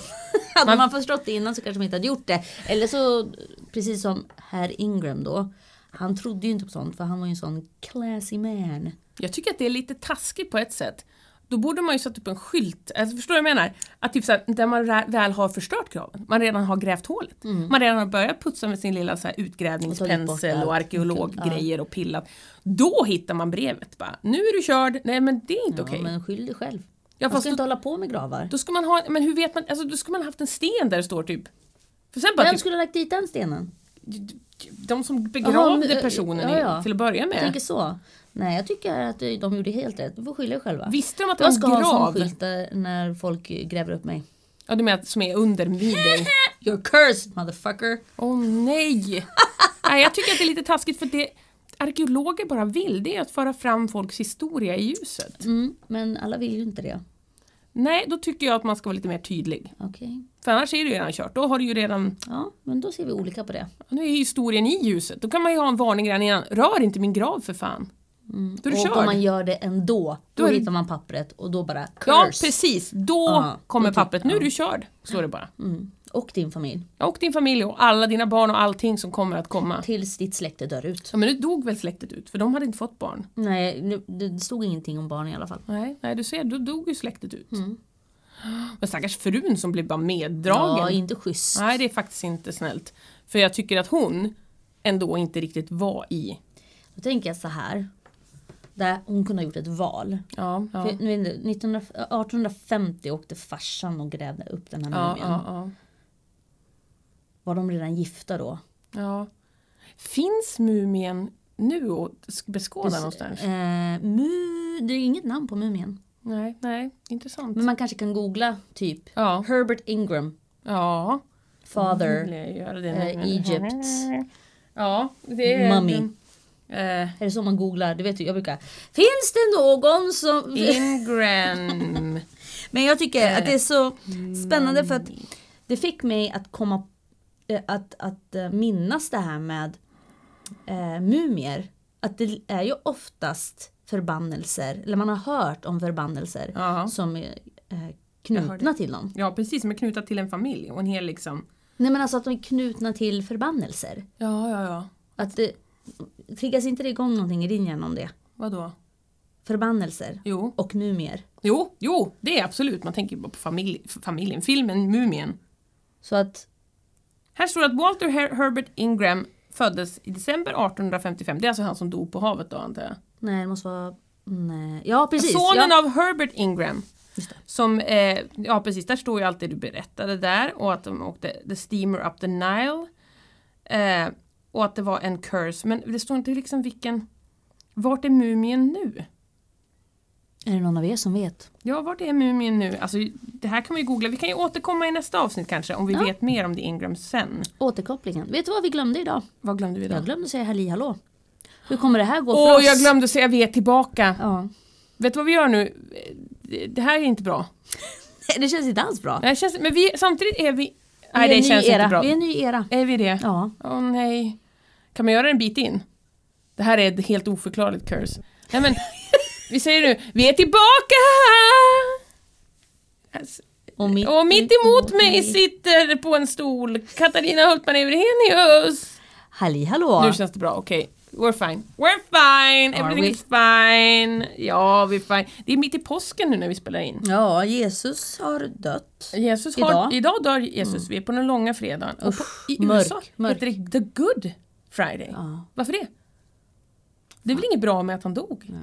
Speaker 2: hade man, förstått det innan så kanske man inte hade gjort det. Eller så, precis som herr Ingram då. Han trodde ju inte på sånt för han var ju en sån classy man.
Speaker 1: Jag tycker att det är lite taskigt på ett sätt. Då borde man ju satt upp en skylt, alltså förstår du vad jag menar? Att typ så här, där man ra- väl har förstört graven, man redan har grävt hålet.
Speaker 2: Mm.
Speaker 1: Man redan har börjat putsa med sin lilla så här
Speaker 2: Och
Speaker 1: utgrävningspensel
Speaker 2: tagit bort
Speaker 1: och
Speaker 2: allt.
Speaker 1: arkeologgrejer och pillat. Då hittar man brevet bara, nu är du körd, nej men det är inte
Speaker 2: Ja,
Speaker 1: okej.
Speaker 2: Men skyll dig själv.
Speaker 1: Ja,
Speaker 2: man
Speaker 1: fast
Speaker 2: ska
Speaker 1: då-
Speaker 2: inte hålla på med gravar.
Speaker 1: Då ska man ha, men hur vet man, alltså då ska man ha haft en sten där det står typ. För sen bara
Speaker 2: Vem
Speaker 1: typ,
Speaker 2: skulle ha lagt dit den stenen?
Speaker 1: de som
Speaker 2: Jaha,
Speaker 1: begravde
Speaker 2: men, eh,
Speaker 1: personen
Speaker 2: ja,
Speaker 1: i-
Speaker 2: ja.
Speaker 1: till att börja
Speaker 2: Jag tänker
Speaker 1: med.
Speaker 2: så. Nej, jag tycker att eh, de gjorde helt rätt. De får skylla sig själva.
Speaker 1: Visste de att det
Speaker 2: Jag ska
Speaker 1: var en
Speaker 2: ha
Speaker 1: grav?
Speaker 2: en sån skylt där när folk gräver upp mig.
Speaker 1: Ja du menar som är under vid dig?
Speaker 2: You're cursed motherfucker.
Speaker 1: Åh nej! nej! Jag tycker att det är lite taskigt för det arkeologer bara vill det är att föra fram folks historia i ljuset.
Speaker 2: Mm, men alla vill ju inte det.
Speaker 1: Nej, då tycker jag att man ska vara lite mer tydlig.
Speaker 2: Okej.
Speaker 1: För annars är det ju redan kört. Då har du ju redan,
Speaker 2: Ja, men då ser vi olika på det.
Speaker 1: nu är historien i ljuset. Då kan man ju ha en varning redan innan. Rör inte min grav för fan! Då är du
Speaker 2: Mm. och
Speaker 1: körd.
Speaker 2: om man gör det ändå, då,
Speaker 1: Då är det-
Speaker 2: hittar man pappret och då bara curse.
Speaker 1: Ja, precis. Då
Speaker 2: Ja,
Speaker 1: kommer
Speaker 2: då typ-
Speaker 1: pappret. Nu är du körd, slår det bara.
Speaker 2: Mm. Och din familj.
Speaker 1: Och din familj och alla dina barn och allting som kommer att komma.
Speaker 2: Tills ditt släkte dör ut.
Speaker 1: Ja, men nu dog väl släktet ut, för de hade inte fått barn.
Speaker 2: Nej, nu, det stod ingenting om barn i alla fall.
Speaker 1: Nej, nej du ser, då dog ju släktet ut.
Speaker 2: Mm.
Speaker 1: Men stackars frun som blev bara meddragen.
Speaker 2: Ja, inte schysst.
Speaker 1: Nej, det är faktiskt inte snällt. För jag tycker att hon ändå inte riktigt var i...
Speaker 2: Då tänker jag så här. Där hon kunde ha gjort ett val.
Speaker 1: Ja, ja.
Speaker 2: För, nu är det- 1900 1850 åkte farsan och grävde upp den här
Speaker 1: Ja,
Speaker 2: mumien.
Speaker 1: ja, ja.
Speaker 2: Var de redan gifta då?
Speaker 1: ja. Finns mumien nu att beskåda någonstans?
Speaker 2: Eh, mu, det är ju inget namn på mumien.
Speaker 1: Nej, nej, intressant.
Speaker 2: Men man kanske kan googla typ
Speaker 1: Ja,
Speaker 2: Herbert Ingram,
Speaker 1: ja.
Speaker 2: father.
Speaker 1: Vill jag göra det nu.
Speaker 2: eh, Egypt.
Speaker 1: Ja, det är...
Speaker 2: Mummy.
Speaker 1: Eh,
Speaker 2: Är det så man googlar? Det vet du, jag brukar. Finns det någon som...
Speaker 1: Ingram.
Speaker 2: Men jag tycker att det är så spännande för att Mm. det fick mig att komma... eh, Att, att eh, minnas det här med eh, mumier. Att det är ju oftast förbannelser, eller man har hört om förbannelser
Speaker 1: Jaha.
Speaker 2: som är eh,
Speaker 1: Jag hörde.
Speaker 2: knutna till dem.
Speaker 1: Ja, precis. Som är knutna till en familj och en hel liksom...
Speaker 2: Nej men alltså att de är knutna till förbannelser.
Speaker 1: Ja, ja, ja.
Speaker 2: Att det, triggas inte det igång någonting i din hjärna om det?
Speaker 1: Vadå?
Speaker 2: Förbannelser
Speaker 1: Jo.
Speaker 2: och mumier.
Speaker 1: Jo, jo, det är absolut. Man tänker bara på familj, familjen. Filmen Mumien.
Speaker 2: Så att
Speaker 1: Här står det att Walter Her- Herbert Ingram föddes i december 1855. Det är alltså han som dog på havet då, antar jag.
Speaker 2: Nej, det måste vara... Nej. Ja, precis.
Speaker 1: Sonen
Speaker 2: ja.
Speaker 1: av Herbert Ingram.
Speaker 2: Just det.
Speaker 1: Som, eh, ja precis, där står ju allt det du berättade där och att de åkte the steamer up the Nile. Eh, och att det var en curse, men det står inte liksom vilken... Vart är mumien nu?
Speaker 2: Är det någon av er som vet?
Speaker 1: Ja, vart är mumien nu? Alltså, det här kan vi ju googla. Vi kan ju återkomma i nästa avsnitt kanske om vi
Speaker 2: Ja.
Speaker 1: vet mer om det Ingram sen.
Speaker 2: Återkopplingen. Vet du vad vi glömde idag?
Speaker 1: Vad glömde vi då?
Speaker 2: Jag glömde säga halli hallå. Hur kommer det här gå för
Speaker 1: Åh,
Speaker 2: oss?
Speaker 1: jag glömde säga vi är tillbaka.
Speaker 2: Ja.
Speaker 1: Vet du vad vi gör nu? Eh, Det här är inte bra.
Speaker 2: Det känns inte alls bra.
Speaker 1: Nej, det känns, men vi, samtidigt är vi...
Speaker 2: Vi är
Speaker 1: Nej,
Speaker 2: en
Speaker 1: det
Speaker 2: ny
Speaker 1: känns
Speaker 2: era.
Speaker 1: inte bra.
Speaker 2: Vi är en ny era.
Speaker 1: Är vi det?
Speaker 2: Ja.
Speaker 1: Åh nej. Kan man göra en bit in? Det här är ett helt oförklarligt curse. Nej men, vi säger nu, vi är tillbaka! Alltså,
Speaker 2: Och mitt,
Speaker 1: Och mitt emot mig sitter på en stol Katarina Hultman Everhenius.
Speaker 2: Halli hallå.
Speaker 1: Nu känns det bra, okej. We're fine. We're fine!
Speaker 2: Are
Speaker 1: Everything
Speaker 2: we?
Speaker 1: is fine! Ja, vi är fine. Det är mitt i påsken nu när vi spelar in.
Speaker 2: Ja, Jesus har dött.
Speaker 1: Jesus har, idag.
Speaker 2: Mm. Idag.
Speaker 1: dör Jesus, vi är på den långa fredagen. Och på, I
Speaker 2: mörk,
Speaker 1: USA
Speaker 2: mörk.
Speaker 1: heter det The Good Friday.
Speaker 2: Ja.
Speaker 1: Varför det? Det är väl inget bra med att han dog?
Speaker 2: Nej.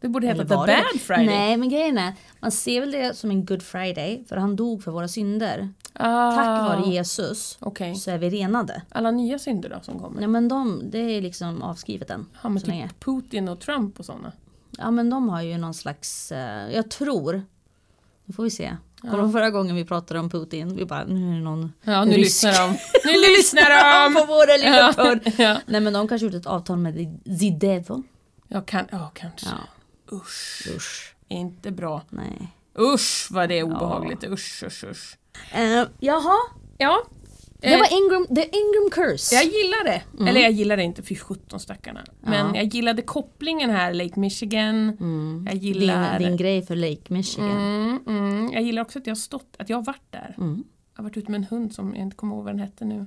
Speaker 1: Det borde heta
Speaker 2: Eller
Speaker 1: The
Speaker 2: var
Speaker 1: Bad
Speaker 2: det det?
Speaker 1: Friday.
Speaker 2: Nej, men grejen är, man ser väl det som en good friday, för han dog för våra synder.
Speaker 1: Ah,
Speaker 2: Tack vare Jesus
Speaker 1: Okej.
Speaker 2: så är vi renade.
Speaker 1: Alla nya synder då som kommer?
Speaker 2: Ja, men de, det är liksom avskrivet än.
Speaker 1: Ja, men
Speaker 2: så länge.
Speaker 1: typ Putin och Trump och sådana.
Speaker 2: Ja men de har ju någon slags, eh, jag tror, nu får vi se. Kommer du ihåg förra gången vi pratade om Putin? Vi bara, nu är det någon
Speaker 1: Ja, nu
Speaker 2: rysk
Speaker 1: lyssnar de. Nu lyssnar
Speaker 2: på
Speaker 1: de!
Speaker 2: våra lilla
Speaker 1: Ja,
Speaker 2: porr.
Speaker 1: ja.
Speaker 2: Nej men de kanske gjort ett avtal med Zidevo.
Speaker 1: Jag kan, ja kanske.
Speaker 2: Ja,
Speaker 1: Usch,
Speaker 2: usch.
Speaker 1: inte bra.
Speaker 2: Nej.
Speaker 1: Usch vad det är obehagligt. Usch, usch, usch.
Speaker 2: Eh, jaha,
Speaker 1: Ja.
Speaker 2: det
Speaker 1: Eh,
Speaker 2: var Ingram, the Ingram curse.
Speaker 1: Jag gillar det. Eller jag gillar det inte, fy sjutton stackarna. Men
Speaker 2: Ja.
Speaker 1: jag gillade kopplingen här, Lake Michigan.
Speaker 2: Mm.
Speaker 1: Jag gillar...
Speaker 2: din, din grej för Lake Michigan.
Speaker 1: Mm, mm. Jag gillar också att jag har stått, att jag har varit där.
Speaker 2: Mm.
Speaker 1: Jag har varit ute med en hund som jag inte kommer ihåg vad den hette nu.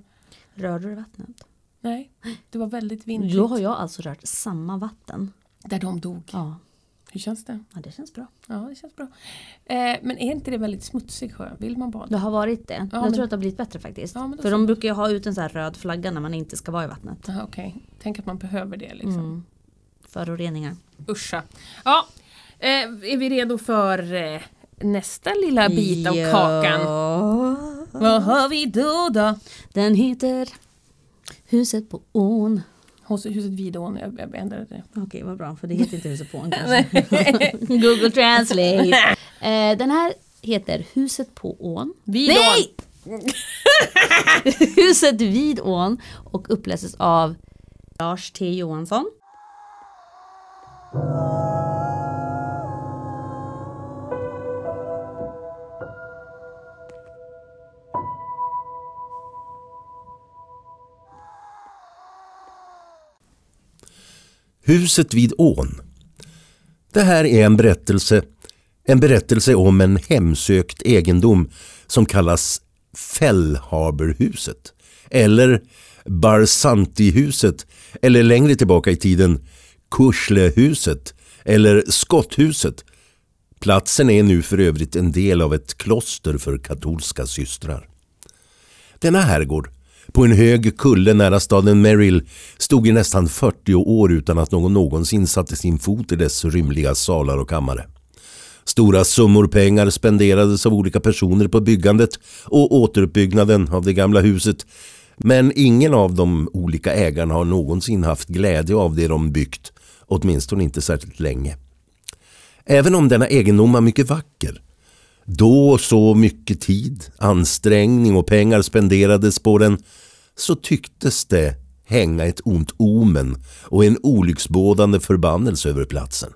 Speaker 2: Rörde du vattnet?
Speaker 1: Nej, det var väldigt vindigt.
Speaker 2: Då har jag alltså rört samma vatten.
Speaker 1: Där de dog.
Speaker 2: Ja,
Speaker 1: Hur känns det?
Speaker 2: ja det känns bra.
Speaker 1: Ja, det känns bra. Eh, men är inte det väldigt smutsig sjö? Vill man bada?
Speaker 2: Det har varit det. men
Speaker 1: men-
Speaker 2: jag tror att det har blivit bättre faktiskt.
Speaker 1: Ja, men då
Speaker 2: För
Speaker 1: så.
Speaker 2: de brukar ju ha ut en sån här röd flagga när man inte ska vara i vattnet.
Speaker 1: Aha, Okej, tänk att man behöver det liksom.
Speaker 2: Mm. Föroreningar.
Speaker 1: Uscha. Ja, eh, är vi redo för eh, nästa lilla bit av kakan?
Speaker 2: Ja.
Speaker 1: Vad har vi då då?
Speaker 2: Den heter Huset på ån.
Speaker 1: Hos huset Vidån, jag, jag ändrade det.
Speaker 2: Okej vad bra för det heter inte Huset på ån kanske. Google translate. eh, den här heter Huset på ån.
Speaker 1: Vidån.
Speaker 2: Nej! Huset vid ån och uppläses av Lars T Johansson.
Speaker 3: Huset vid ån. Det här är en berättelse, en berättelse om en hemsökt egendom som kallas Fellhaberhuset eller Barsantihuset eller längre tillbaka i tiden Kurslehuset eller Skotthuset. Platsen är nu för övrigt en del av ett kloster för katolska systrar. Denna herrgård, på en hög kulle nära staden Merrill, stod i nästan 40 år utan att någon någonsin satte sin fot i dess rymliga salar och kammare. Stora summor pengar spenderades av olika personer på byggandet och återuppbyggnaden av det gamla huset. Men ingen av de olika ägarna har någonsin haft glädje av det de byggt, åtminstone inte särskilt länge. Även om denna egendom var mycket vacker då så mycket tid, ansträngning och pengar spenderades på den så tycktes det hänga ett ont omen och en olycksbådande förbannelse över platsen.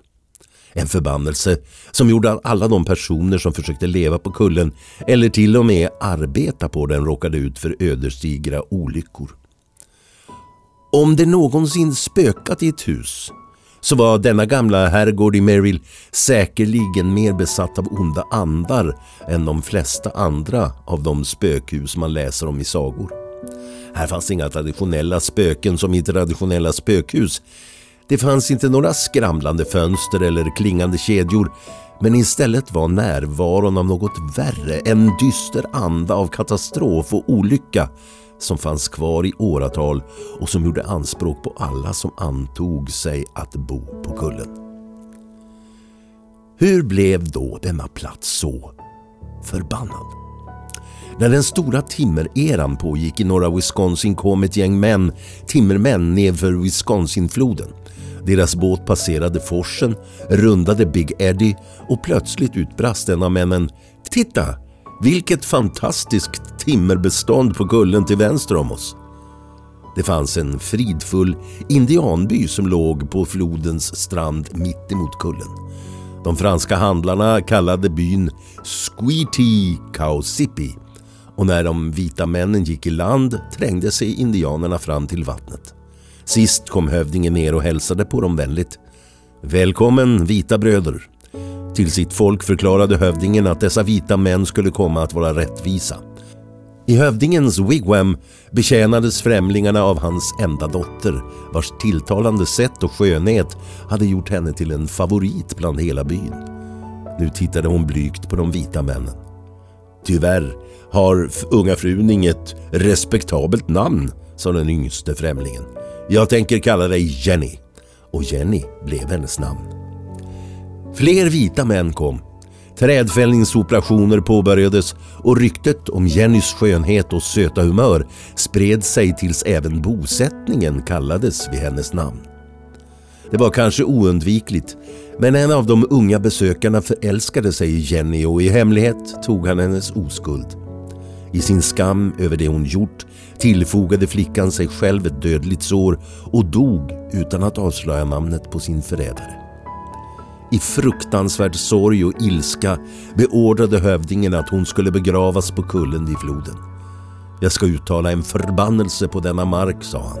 Speaker 3: En förbannelse som gjorde att alla de personer som försökte leva på kullen eller till och med arbeta på den råkade ut för ödesdigra olyckor. Om det någonsin spökat i ett hus så var denna gamla herrgård i Merrill säkerligen mer besatt av onda andar än de flesta andra av de spökhus man läser om i sagor. Här fanns inga traditionella spöken som i traditionella spökhus. Det fanns inte några skramlande fönster eller klingande kedjor men istället var närvaron av något värre, en dyster anda av katastrof och olycka som fanns kvar i åratal och som gjorde anspråk på alla som antog sig att bo på kullen. Hur blev då denna plats så förbannad? När den stora timmereran pågick i norra Wisconsin kom ett gäng män, timmermän nedför Wisconsinfloden. Deras båt passerade forsen, rundade Big Eddy och plötsligt utbrast en av männen “Titta! Vilket fantastiskt timmerbestånd på kullen till vänster om oss!” Det fanns en fridfull indianby som låg på flodens strand mitt emot kullen. De franska handlarna kallade byn Squeety Cowsippy och när de vita männen gick i land trängde sig indianerna fram till vattnet. Sist kom hövdingen ner och hälsade på dem vänligt. Välkommen vita bröder. Till sitt folk förklarade hövdingen att dessa vita män skulle komma att vara rättvisa. I hövdingens wigwam betjänades främlingarna av hans enda dotter vars tilltalande sätt och skönhet hade gjort henne till en favorit bland hela byn. Nu tittade hon blygt på de vita männen. Tyvärr har f- unga frun inget respektabelt namn, sa den yngste främlingen. Jag tänker kalla dig Jenny. Och Jenny blev hennes namn. Fler vita män kom. Trädfällningsoperationer påbörjades och ryktet om Jennys skönhet och söta humör spred sig tills även bosättningen kallades vid hennes namn. Det var kanske oundvikligt, men en av de unga besökarna förälskade sig i Jenny och i hemlighet tog han hennes oskuld. I sin skam över det hon gjort tillfogade flickan sig själv ett dödligt sår och dog utan att avslöja namnet på sin förrädare. I fruktansvärd sorg och ilska beordrade hövdingen att hon skulle begravas på kullen vid floden. Jag ska uttala en förbannelse på denna mark, sa han.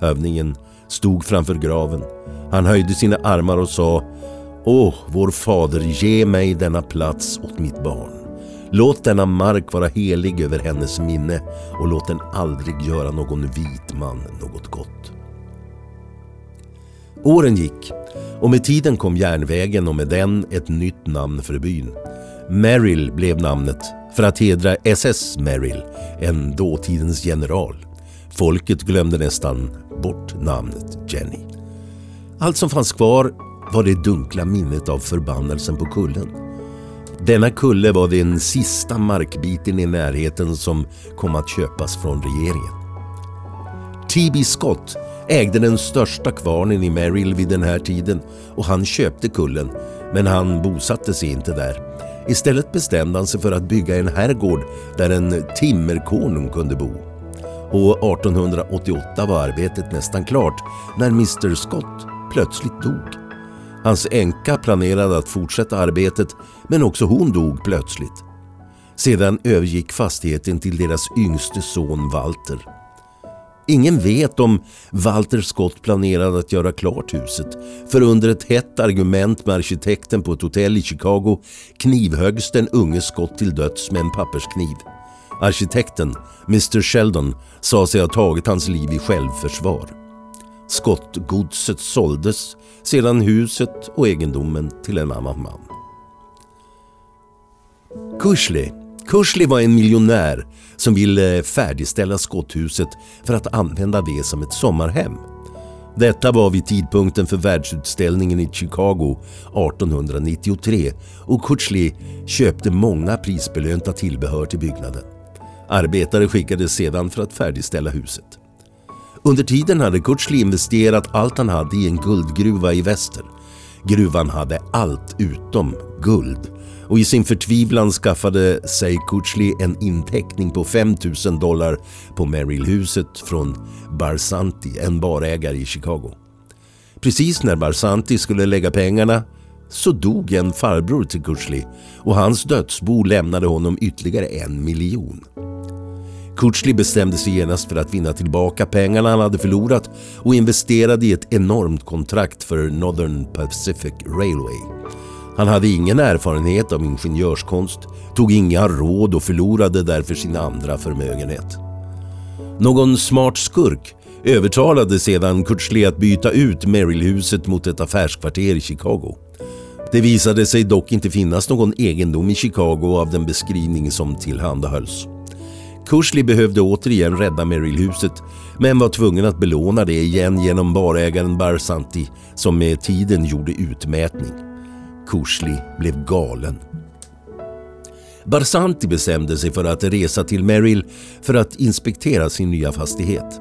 Speaker 3: Hövdingen stod framför graven. Han höjde sina armar och sa Åh, vår fader, ge mig denna plats åt mitt barn. Låt denna mark vara helig över hennes minne och låt den aldrig göra någon vit man något gott. Åren gick och med tiden kom järnvägen och med den ett nytt namn för byn. Merrill blev namnet för att hedra SS Merrill, en dåtidens general. Folket glömde nästan bort namnet Jenny. Allt som fanns kvar var det dunkla minnet av förbannelsen på kullen. Denna kulle var den sista markbiten i närheten som kom att köpas från regeringen. T.B. Scott ägde den största kvarnen i Merrill vid den här tiden och han köpte kullen, men han bosatte sig inte där. Istället bestämde han sig för att bygga en herrgård där en timmerkonung kunde bo. Och 1888 var arbetet nästan klart när Mr Scott plötsligt dog. Hans änka planerade att fortsätta arbetet men också hon dog plötsligt. Sedan övergick fastigheten till deras yngste son Walter. Ingen vet om Walter Scott planerade att göra klart huset. För under ett hett argument med arkitekten på ett hotell i Chicago knivhöggs den unge Scott till döds med en papperskniv. Arkitekten, Mr Sheldon, sa sig ha tagit hans liv i självförsvar. Skottgodset såldes, sedan huset och egendomen till en annan man. Kushley. Kushley var en miljonär som ville färdigställa skotthuset för att använda det som ett sommarhem. Detta var vid tidpunkten för världsutställningen i Chicago 1893 och Kuchli köpte många prisbelönta tillbehör till byggnaden. Arbetare skickades sedan för att färdigställa huset. Under tiden hade Kuchli investerat allt han hade i en guldgruva i väster. Gruvan hade allt utom guld och i sin förtvivlan skaffade sig Kuchli en inteckning på 5 000 dollar på Merrill-huset från Barsanti, en barägare i Chicago. Precis när Barsanti skulle lägga pengarna så dog en farbror till Kuchli och hans dödsbo lämnade honom ytterligare en miljon. Kuchli bestämde sig genast för att vinna tillbaka pengarna han hade förlorat och investerade i ett enormt kontrakt för Northern Pacific Railway. Han hade ingen erfarenhet av ingenjörskonst, tog inga råd och förlorade därför sin andra förmögenhet. Någon smart skurk övertalade sedan Kurtzley att byta ut Merrillhuset mot ett affärskvarter i Chicago. Det visade sig dock inte finnas någon egendom i Chicago av den beskrivning som tillhandahölls. Kursley behövde återigen rädda Merrillhuset men var tvungen att belåna det igen genom barägaren Barsanti som med tiden gjorde utmätning. Kursli blev galen. Barsanti bestämde sig för att resa till Merrill för att inspektera sin nya fastighet.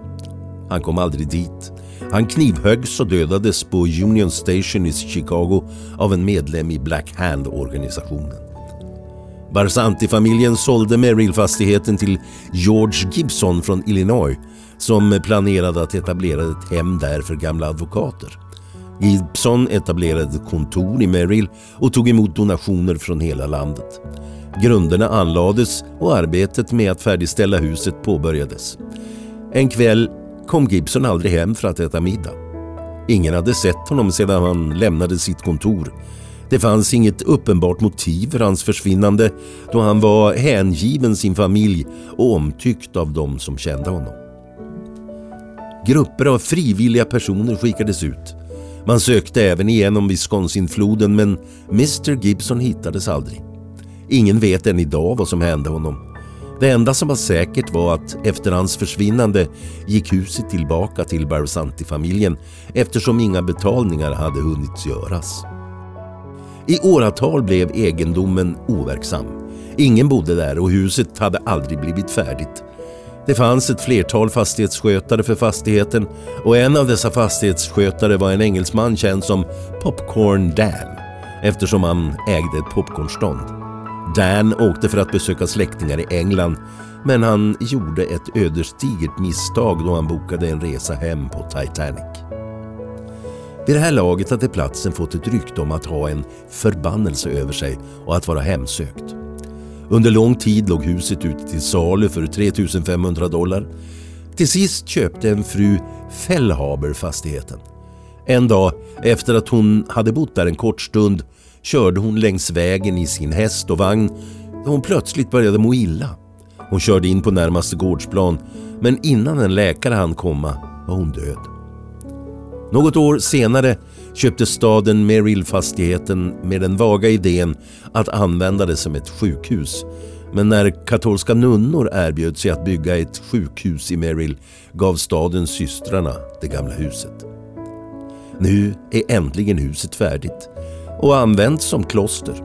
Speaker 3: Han kom aldrig dit. Han knivhöggs och dödades på Union Station i Chicago av en medlem i Black Hand-organisationen. Barsanti-familjen sålde Merrill-fastigheten till George Gibson från Illinois som planerade att etablera ett hem där för gamla advokater. Gibson etablerade ett kontor i Merrill och tog emot donationer från hela landet. Grunderna anlades och arbetet med att färdigställa huset påbörjades. En kväll kom Gibson aldrig hem för att äta middag. Ingen hade sett honom sedan han lämnade sitt kontor. Det fanns inget uppenbart motiv för hans försvinnande då han var hängiven sin familj och omtyckt av de som kände honom. Grupper av frivilliga personer skickades ut man sökte även igenom Wisconsinfloden men Mr Gibson hittades aldrig. Ingen vet än idag vad som hände honom. Det enda som var säkert var att efter hans försvinnande gick huset tillbaka till Barsanti-familjen eftersom inga betalningar hade hunnit göras. I åratal blev egendomen overksam. Ingen bodde där och huset hade aldrig blivit färdigt. Det fanns ett flertal fastighetsskötare för fastigheten och en av dessa fastighetsskötare var en engelsman känd som Popcorn Dan eftersom han ägde ett popcornstånd. Dan åkte för att besöka släktingar i England men han gjorde ett ödesdigert misstag då han bokade en resa hem på Titanic. Vid det här laget hade platsen fått ett rykte om att ha en förbannelse över sig och att vara hemsökt. Under lång tid låg huset ute till salu för 3 500 dollar. Till sist köpte en fru Fellhaber fastigheten. En dag efter att hon hade bott där en kort stund körde hon längs vägen i sin häst och vagn då hon plötsligt började må illa. Hon körde in på närmaste gårdsplan men innan en läkare hann komma var hon död. Något år senare köpte staden Merrill fastigheten med den vaga idén att använda det som ett sjukhus. Men när katolska nunnor erbjöd sig att bygga ett sjukhus i Merrill gav staden systrarna det gamla huset. Nu är äntligen huset färdigt och används som kloster.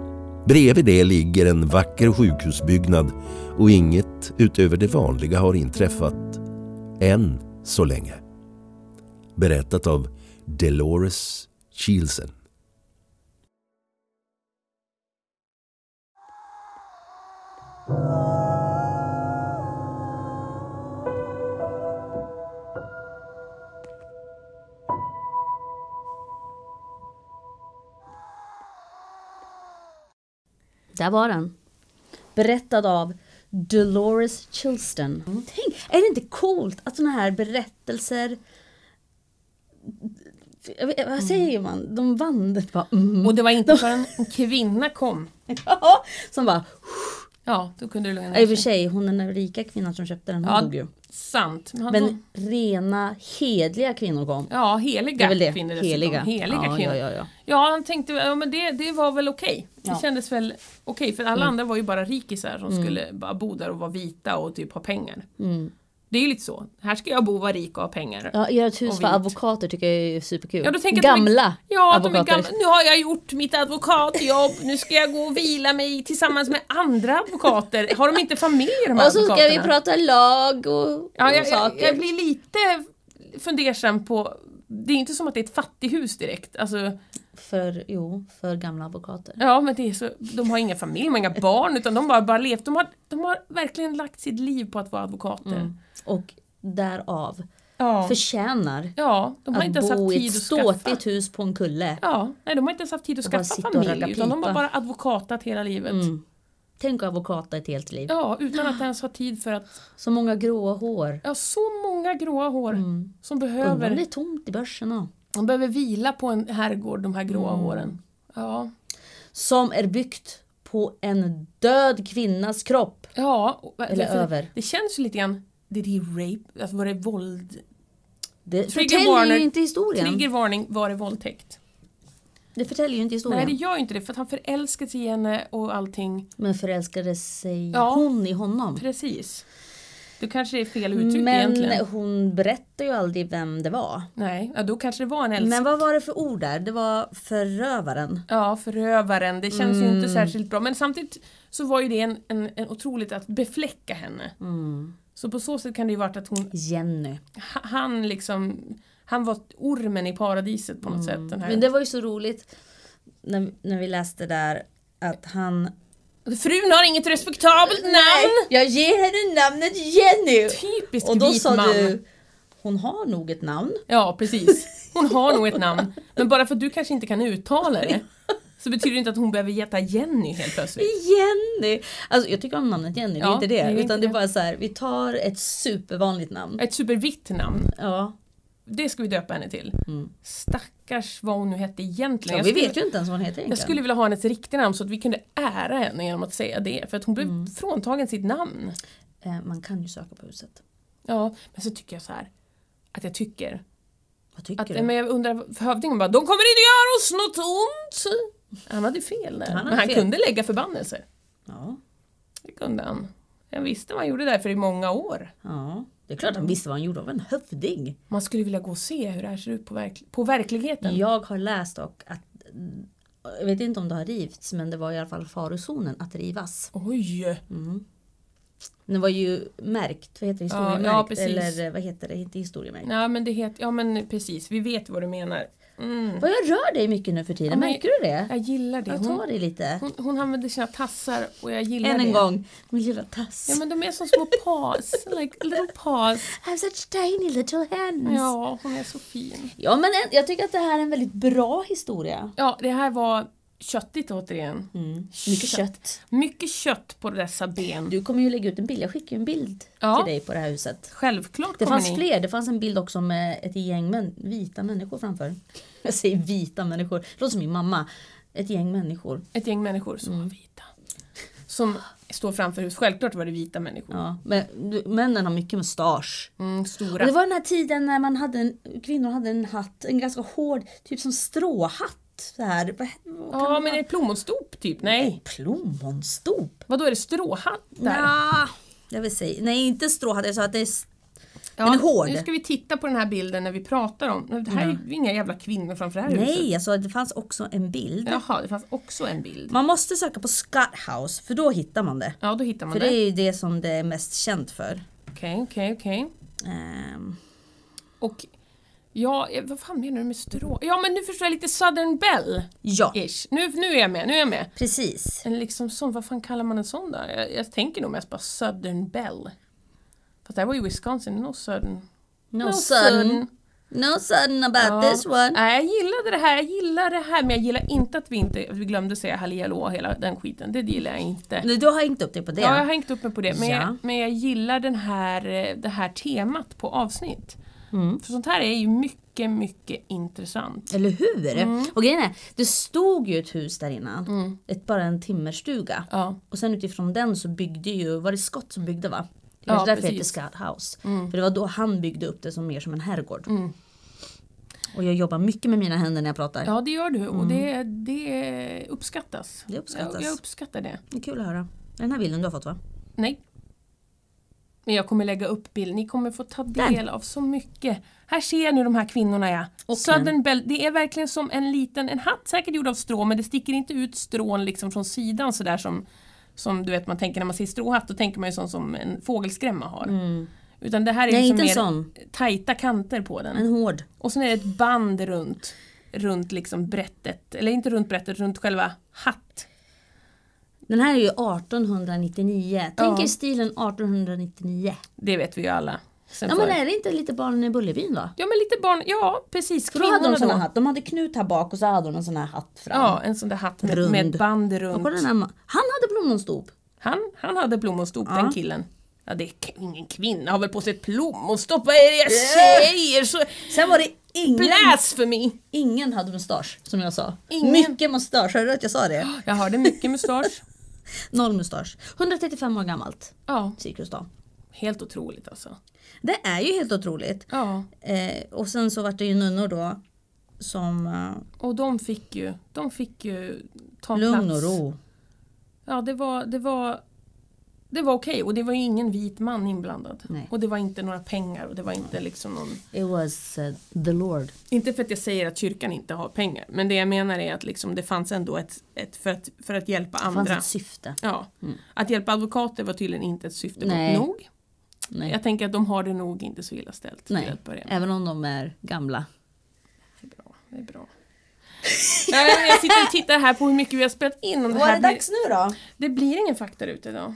Speaker 3: Bredvid det ligger en vacker sjukhusbyggnad och inget utöver det vanliga har inträffat. Än så länge berättat av Dolores Chielsen.
Speaker 2: Där var den. Berättad av Dolores Chilston.
Speaker 1: Mm.
Speaker 2: Tänk, är det inte coolt att såna här berättelser jag vet-
Speaker 1: Mm.
Speaker 2: vad säger man? De vann. Bara, mm.
Speaker 1: Och det var inte förrän en kvinna kom.
Speaker 2: Ja, som bara,
Speaker 1: Ja, då kunde du lugna
Speaker 2: ja, i
Speaker 1: ner
Speaker 2: och för
Speaker 1: dig.
Speaker 2: sig hon den där rika kvinnan som köpte den, hon
Speaker 1: Ja,
Speaker 2: dog ju.
Speaker 1: Sant. Men,
Speaker 2: Men rena hedliga kvinnor kom.
Speaker 1: ja,
Speaker 2: Det är
Speaker 1: heliga
Speaker 2: väl det?
Speaker 1: kvinnor
Speaker 2: Heliga.
Speaker 1: Heliga
Speaker 2: ja,
Speaker 1: kvinnor.
Speaker 2: Ja, ja, ja.
Speaker 1: Ja, han tänkte ja, men det, det var väl okej. Det
Speaker 2: Ja. Mm.
Speaker 1: kändes väl okej, för alla andra var ju bara rikisar som skulle bara bo där och vara vita och typ ha pengar. Det är ju lite så. Här ska jag bo, vara rik och ha pengar.
Speaker 2: Mm. Ja, göra ett hus
Speaker 1: Och
Speaker 2: för
Speaker 1: vitt.
Speaker 2: advokater tycker jag är superkul.
Speaker 1: Ja, då tänker jag att de är-
Speaker 2: gamla
Speaker 1: Ja, de är
Speaker 2: advokater.
Speaker 1: gamla. nu har jag gjort mitt advokatjobb, nu ska jag gå och vila mig tillsammans med andra advokater. Har de inte familj de här
Speaker 2: Och så ska vi
Speaker 1: advokaterna?
Speaker 2: prata lag och,
Speaker 1: ja,
Speaker 2: och
Speaker 1: jag, jag,
Speaker 2: saker.
Speaker 1: jag blir lite fundersam på, det är inte som att det är ett fattighus direkt. Alltså,
Speaker 2: För, jo, för gamla advokater.
Speaker 1: Ja men det är så, de har inga familj, de har inga barn utan de bara, bara levt. De har, de har verkligen lagt sitt liv på att vara advokater.
Speaker 2: Mm. Och därav
Speaker 1: Ja.
Speaker 2: förtjänar
Speaker 1: ja, de har
Speaker 2: att
Speaker 1: inte ens haft
Speaker 2: bo i
Speaker 1: tid
Speaker 2: ett
Speaker 1: att skaffa.
Speaker 2: ståtigt hus på en kulle.
Speaker 1: Ja, nej de har inte ens haft tid att
Speaker 2: bara
Speaker 1: skaffa
Speaker 2: sitta och
Speaker 1: familj
Speaker 2: ragga
Speaker 1: utan de har
Speaker 2: pipa. Mm.
Speaker 1: bara advokatat hela livet.
Speaker 2: Tänk att advokata ett helt liv.
Speaker 1: Ja, utan att ens ha tid för att,
Speaker 2: Så många gråa hår.
Speaker 1: ja så många gråa hår
Speaker 2: Mm.
Speaker 1: som
Speaker 2: Undrar om det
Speaker 1: behöver,
Speaker 2: är tomt i börsen då.
Speaker 1: de behöver vila på en herrgård de här gråa
Speaker 2: Mm.
Speaker 1: håren. Ja,
Speaker 2: Som är byggt på en död kvinnas kropp.
Speaker 1: ja och-
Speaker 2: Eller
Speaker 1: för-
Speaker 2: över.
Speaker 1: det känns ju lite grann, det är rape, alltså var det våld?
Speaker 2: Det
Speaker 1: Trigger
Speaker 2: förtäljer
Speaker 1: warning.
Speaker 2: ju inte historien.
Speaker 1: Trigger varning, var det våldtäkt?
Speaker 2: Det förtäljer ju inte
Speaker 1: Nej
Speaker 2: historien.
Speaker 1: det gör ju inte det för att han förälskar sig i henne och allting.
Speaker 2: Men förälskade sig
Speaker 1: Ja.
Speaker 2: hon i honom?
Speaker 1: Precis. Då kanske det är fel uttryck
Speaker 2: Men
Speaker 1: egentligen.
Speaker 2: hon berättar ju aldrig vem det var.
Speaker 1: Nej, ja, då kanske det var en älsk...
Speaker 2: Men vad var det för ord där? Det var förövaren.
Speaker 1: Ja, förövaren. Det känns ju inte särskilt bra. Men samtidigt så var ju det en, en, en otroligt att befläcka henne. Så på så sätt kan det ju varit att hon,
Speaker 2: Jenny.
Speaker 1: ha- han liksom, han var ormen i paradiset på något sätt. Den här.
Speaker 2: Men det var ju så roligt när, när vi läste där att han...
Speaker 1: Frun har inget respektabelt namn!
Speaker 2: Jag ger henne namnet Jenny!
Speaker 1: Typiskt
Speaker 2: Och då
Speaker 1: vit
Speaker 2: sa
Speaker 1: man.
Speaker 2: du, hon har nog ett namn.
Speaker 1: Ja, precis. Hon har nog ett namn. Men bara för att du kanske inte kan uttala det så betyder det inte att hon behöver heta Jenny helt plötsligt.
Speaker 2: Jenny! Alltså jag tycker om namnet Jenny, det
Speaker 1: Ja,
Speaker 2: är inte
Speaker 1: det
Speaker 2: det.
Speaker 1: är inte
Speaker 2: utan det är
Speaker 1: det.
Speaker 2: bara så här, vi tar ett supervanligt namn.
Speaker 1: Ett supervitt namn.
Speaker 2: Ja.
Speaker 1: Det ska vi döpa henne till. Stackars vad hon nu hette egentligen.
Speaker 2: Mm. ja
Speaker 1: Jag
Speaker 2: vi
Speaker 1: skulle-
Speaker 2: vet ju inte ens vad hon heter egentligen.
Speaker 1: Jag skulle vilja ha hennes riktiga namn så att vi kunde ära henne genom att säga det. För att hon blev
Speaker 2: Mm.
Speaker 1: fråntagen sitt namn.
Speaker 2: Eh, Man kan ju söka på huset.
Speaker 1: Ja, men så tycker jag så här. Att jag tycker.
Speaker 2: Vad tycker
Speaker 1: Att,
Speaker 2: du?
Speaker 1: men jag undrar, för hövdingen bara De kommer inte göra oss något ont! Han hade fel där.
Speaker 2: Han hade
Speaker 1: men han
Speaker 2: fel.
Speaker 1: kunde lägga förbannelser.
Speaker 2: Ja.
Speaker 1: Det kunde han. Jag visste vad han gjorde där för i många år.
Speaker 2: ja. Det är klart han visste vad han gjorde, av en hövding.
Speaker 1: Man skulle vilja gå och se hur det här ser ut på, verk- på verkligheten.
Speaker 2: Jag har läst dock att jag vet inte om det har rivits men det var i alla fall farozonen att rivas.
Speaker 1: Oj!
Speaker 2: Den var ju märkt, vad heter det,
Speaker 1: Ja, ja,
Speaker 2: historiemärkt?
Speaker 1: precis.
Speaker 2: Eller eh, vad heter det, inte historiemärkt.
Speaker 1: Ja men det heter, ja men precis, vi vet vad du menar. Mm.
Speaker 2: Vad jag rör dig mycket nu för tiden,
Speaker 1: Ja, men-
Speaker 2: märker du det?
Speaker 1: Jag gillar det.
Speaker 2: Jag
Speaker 1: Hon,
Speaker 2: tar dig lite.
Speaker 1: hon, hon använder sina tassar och jag gillar
Speaker 2: Än
Speaker 1: det.
Speaker 2: en gång, min lilla tass.
Speaker 1: Ja men de är som små paws, like little paws.
Speaker 2: I have such tiny little hands. Ja,
Speaker 1: Ja, hon är så fin.
Speaker 2: men en, jag tycker att det här är en väldigt bra historia.
Speaker 1: Ja, det här var köttigt återigen.
Speaker 2: Mm. Mycket kött.
Speaker 1: Mycket kött på dessa ben.
Speaker 2: Du kommer ju lägga ut en bild, jag skickar ju en bild
Speaker 1: Ja.
Speaker 2: till dig på det här huset.
Speaker 1: Självklart
Speaker 2: Det
Speaker 1: kommer
Speaker 2: fanns
Speaker 1: ni.
Speaker 2: fler, det fanns en bild också med ett gäng män, vita människor framför. Jag säger vita människor, det låter som min mamma. Ett gäng människor.
Speaker 1: Ett gäng människor som
Speaker 2: Mm.
Speaker 1: var vita. Som står framför hus. Självklart var det vita människor.
Speaker 2: Ja. Men, du, männen har mycket mustasch.
Speaker 1: Mm,
Speaker 2: Och
Speaker 1: stora.
Speaker 2: det var den här tiden när man hade en, kvinnor hade en hatt, en ganska hård, typ som stråhatt. Så här. Vad- vad kan
Speaker 1: Ja
Speaker 2: det
Speaker 1: men är
Speaker 2: vara?
Speaker 1: det plommonstop typ? Nej.
Speaker 2: Plommonstop?
Speaker 1: Vadå är det stråhattar?
Speaker 2: Nja, jag vill säga, nej inte stråhatt, jag sa att det är s-
Speaker 1: Ja,
Speaker 2: Den är hård.
Speaker 1: Nu ska vi titta på den här bilden när vi pratar om. Det här är ju inga jävla kvinnor framför det här huset.
Speaker 2: Nej, jag sa att det fanns också en bild.
Speaker 1: Jaha, det fanns också en bild.
Speaker 2: Man måste söka på Scott House för då hittar man det.
Speaker 1: Ja, då hittar man
Speaker 2: För det
Speaker 1: det.
Speaker 2: är ju det som det är mest känt för.
Speaker 1: Okej, okej, okej.
Speaker 2: Ehm,
Speaker 1: Och ja, eh, vad fan menar du med strå? Ja, men nu förstår jag lite Southern Bell-ish.
Speaker 2: ja,
Speaker 1: Nu, nu är jag med, nu är jag med.
Speaker 2: precis.
Speaker 1: En liksom sån, vad fan kallar man en sån då? Jag, jag tänker nog mest bara Southern Bell. Fast det här var ju Wisconsin, no Southern.
Speaker 2: No, sun. No sun about
Speaker 1: Ja.
Speaker 2: this one.
Speaker 1: Nej, jag gillade det här, jag gillar det här, men jag gillar inte att vi inte, att vi glömde säga hallihallå och hela den skiten. Det gillar jag inte.
Speaker 2: Nej, Du har hängt upp dig på det.
Speaker 1: Äh. Ja, jag har hängt upp mig på det. Men,
Speaker 2: Ja.
Speaker 1: jag, men jag gillar den här, eh, det här temat på avsnitt.
Speaker 2: Mm.
Speaker 1: För sånt här är ju mycket, mycket intressant.
Speaker 2: Eller hur?
Speaker 1: Mm.
Speaker 2: Och grejen är, det stod ju ett hus där innan. Ett, bara en timmerstuga.
Speaker 1: Ja.
Speaker 2: Och sen utifrån den så byggde ju, var det Scott som byggde va? Det
Speaker 1: Ja,
Speaker 2: kanske därför det hette
Speaker 1: precis. Mm.
Speaker 2: Scott House. För det var då han byggde upp det som mer som en herrgård. Och jag jobbar mycket med mina händer när jag pratar.
Speaker 1: ja, det gör du och det, det uppskattas.
Speaker 2: Mm. Det uppskattas.
Speaker 1: Jag, jag uppskattar det.
Speaker 2: Det är kul att höra. Den här bilden du har fått va?
Speaker 1: Nej. Men jag kommer lägga upp bild. Ni kommer få ta del av så mycket. Här ser jag nu de här kvinnorna ja.
Speaker 2: Och
Speaker 1: Southern Bell, det är verkligen som en liten, en hatt säkert gjord av strå men det sticker inte ut strån liksom från sidan sådär som, som du vet man tänker när man ser stråhatt då tänker man ju sån som en fågelskrämma har. Utan det här är
Speaker 2: Mm.
Speaker 1: liksom
Speaker 2: Nej, inte en
Speaker 1: mer
Speaker 2: sån. Mm.
Speaker 1: tajta kanter på den.
Speaker 2: En hård.
Speaker 1: Och sen är det ett band runt, runt liksom brättet, eller inte runt brättet, runt själva hatt.
Speaker 2: Den här är ju 1899. Tänk
Speaker 1: Ja.
Speaker 2: er stilen 1899.
Speaker 1: Det vet vi ju alla. Sen
Speaker 2: Ja
Speaker 1: förr.
Speaker 2: men är det inte lite barnen i Bullerbyn då?
Speaker 1: Ja men lite barn, ja precis.
Speaker 2: För då hade de
Speaker 1: Kvinnorna
Speaker 2: sån här
Speaker 1: då.
Speaker 2: hatt. De hade knut här bak och så hade de en sån här hatt fram.
Speaker 1: Ja, en sån där hatt med,
Speaker 2: Rund.
Speaker 1: med ett band
Speaker 2: Och kolla den
Speaker 1: runt.
Speaker 2: här, ma- han hade plommonstop.
Speaker 1: Han, han hade plommonstop den killen. Ja det är k- ingen kvinna har väl på sig ett plommonstop, vad är det jag
Speaker 2: Eh.
Speaker 1: säger? Så,
Speaker 2: Sen var det ingen,
Speaker 1: blasphemy!
Speaker 2: ingen hade mustasch som jag sa.
Speaker 1: Ingen.
Speaker 2: Mycket mustasch, hörde du att jag sa det?
Speaker 1: Jag hörde mycket mustasch.
Speaker 2: Noll mustasch. 135 år gammalt,
Speaker 1: Ja,
Speaker 2: Cirkus då.
Speaker 1: helt otroligt alltså.
Speaker 2: Det är ju helt otroligt.
Speaker 1: Ja,
Speaker 2: Eh, och sen så vart det ju nunnor då som eh,
Speaker 1: och de fick ju, de fick ju ta
Speaker 2: lugn
Speaker 1: plats.
Speaker 2: och ro.
Speaker 1: Ja, det var, det var, det var okej och det var ju ingen vit man inblandad.
Speaker 2: Nej.
Speaker 1: Och det var inte några pengar och det var inte liksom någon
Speaker 2: It was eh, the Lord.
Speaker 1: Inte för att jag säger att kyrkan inte har pengar, men det jag menar är att liksom det fanns ändå ett, ett för, att, för att hjälpa
Speaker 2: Det fanns
Speaker 1: andra.
Speaker 2: ett syfte. Mm.
Speaker 1: Ja. Att hjälpa advokater var tydligen inte ett syfte
Speaker 2: Nej.
Speaker 1: gott nog.
Speaker 2: Nej.
Speaker 1: Jag tänker att de har det nog inte så illa ställt till
Speaker 2: Nej.
Speaker 1: att börja med.
Speaker 2: Även om de är gamla.
Speaker 1: Det är bra. Det är bra. Nej, men jag sitter och tittar här på hur mycket vi har spelat in. Om det, här blir,
Speaker 2: nu då?
Speaker 1: det blir ingen faktaruta idag.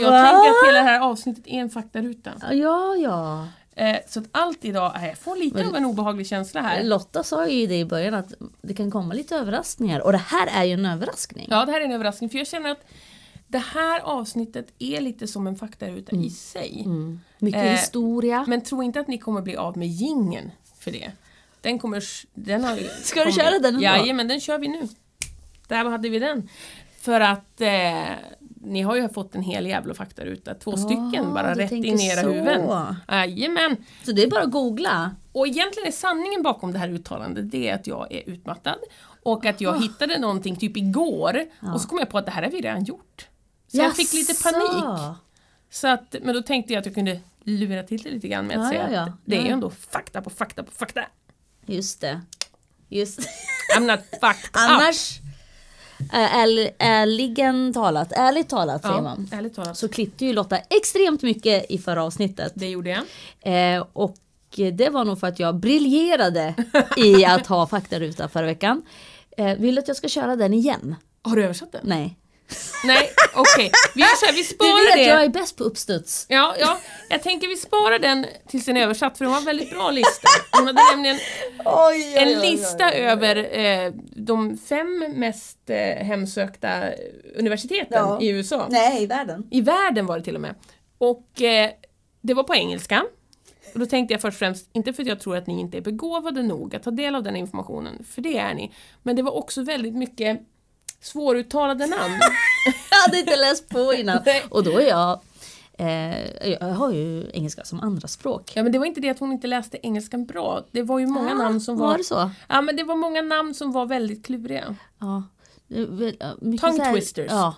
Speaker 1: Jag tänker att hela det här avsnittet är en faktaruta.
Speaker 2: Ja, ja.
Speaker 1: Eh, så att allt idag, är, jag får lite av en obehaglig känsla här.
Speaker 2: Lotta sa ju det i början att det kan komma lite överraskningar och det här är ju en överraskning.
Speaker 1: Ja, det här är en överraskning för jag känner att det här avsnittet är lite som en faktaruta
Speaker 2: Mm.
Speaker 1: i sig.
Speaker 2: Mycket
Speaker 1: Eh,
Speaker 2: historia.
Speaker 1: Men tro inte att ni kommer bli av med gingen för det. Den kommer... Den har, Ska
Speaker 2: du köra den ändå?
Speaker 1: Jajamän, den kör vi nu. Där hade vi den. För att eh, ni har ju fått en hel jävla faktaruta. Två stycken bara
Speaker 2: du
Speaker 1: rätt in
Speaker 2: tänker
Speaker 1: i era
Speaker 2: så.
Speaker 1: huvuden. Jajamän.
Speaker 2: Så det är bara att googla.
Speaker 1: Och egentligen är sanningen bakom det här uttalandet det är att jag är utmattad och att
Speaker 2: Ah.
Speaker 1: jag hittade någonting typ igår och så kom jag på att det här har vi redan gjort. Så jag fick lite
Speaker 2: Jaså.
Speaker 1: panik. Så att, men då tänkte jag att jag kunde lura till det lite grann med att
Speaker 2: Ja,
Speaker 1: säga
Speaker 2: ja, ja.
Speaker 1: att det är
Speaker 2: Ja.
Speaker 1: ju ändå fakta på fakta på fakta.
Speaker 2: Just det. Just
Speaker 1: I'm not fucked up.
Speaker 2: Annars, eh, äl, ärligen talat, ärligt talat säger
Speaker 1: Ja,
Speaker 2: man.
Speaker 1: ärligt talat.
Speaker 2: Så klippte ju Lotta extremt mycket i förra avsnittet.
Speaker 1: Det gjorde jag.
Speaker 2: Eh, och det var nog för att jag briljerade i att ha faktaruta förra veckan. Eh, vill du att jag ska köra den igen?
Speaker 1: Har du översatt den?
Speaker 2: Nej.
Speaker 1: Nej, okej. Vi gör så här, vi
Speaker 2: Du
Speaker 1: sparar
Speaker 2: vet, jag
Speaker 1: det.
Speaker 2: är bäst på uppstuds.
Speaker 1: Ja, ja, jag tänker vi sparar den tills den är översatt för det var en väldigt bra lista. Hon hade nämligen en lista över eh, de fem mest eh, hemsökta eh, universiteten
Speaker 2: Ja.
Speaker 1: i USA.
Speaker 2: Nej, i världen.
Speaker 1: I världen var det till och med. Och eh, det var på engelska. Och då tänkte jag först och främst, inte för att jag tror att ni inte är begåvade nog att ta del av den informationen, för det är ni. Men det var också väldigt mycket svåruttalade namn.
Speaker 2: Jag hade inte läst på innan.
Speaker 1: Nej.
Speaker 2: Och då är jag, eh, jag har ju engelska som andraspråk.
Speaker 1: Ja men det var inte det att hon inte läste engelskan bra. Det var ju många namn som var...
Speaker 2: Ah, Var det så?
Speaker 1: Ja men det var många namn som var väldigt kluriga.
Speaker 2: Ja. Det är väl, ja, mycket
Speaker 1: Tongue
Speaker 2: så här-
Speaker 1: twisters. Mm.
Speaker 2: Ja.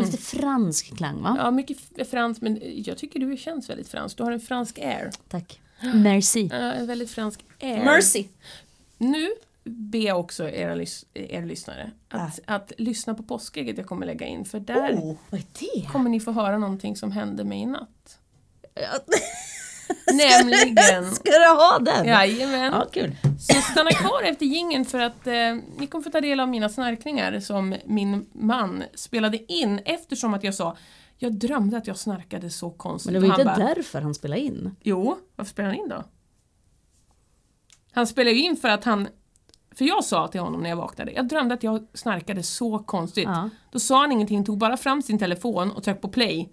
Speaker 2: Lite fransk klang va?
Speaker 1: Ja mycket f- franskt men jag tycker du känns väldigt fransk. Du har en fransk air.
Speaker 2: Tack. Merci.
Speaker 1: Ja, en väldigt fransk air.
Speaker 2: Mercy.
Speaker 1: Nu ber jag också era, lys- er lyssnare att, att lyssna på påskägget jag kommer lägga in för där
Speaker 2: Oh, vad är det?
Speaker 1: kommer ni få höra någonting som hände mig i natt. Nämligen...
Speaker 2: Ska du ha den?
Speaker 1: Jajamän.
Speaker 2: Ja, kul.
Speaker 1: Så stanna kvar efter gingen för att eh, ni kommer få ta del av mina snarkningar som min man spelade in eftersom att jag sa jag drömde att jag snarkade så konstigt.
Speaker 2: Men det var
Speaker 1: Och
Speaker 2: inte
Speaker 1: han bara,
Speaker 2: därför han spelade in.
Speaker 1: Jo, varför spelade han in då? Han spelade ju in för att han för jag sa till honom när jag vaknade, jag drömde att jag snarkade så konstigt.
Speaker 2: Ja.
Speaker 1: Då sa han ingenting, tog bara fram sin telefon och tryckte på play.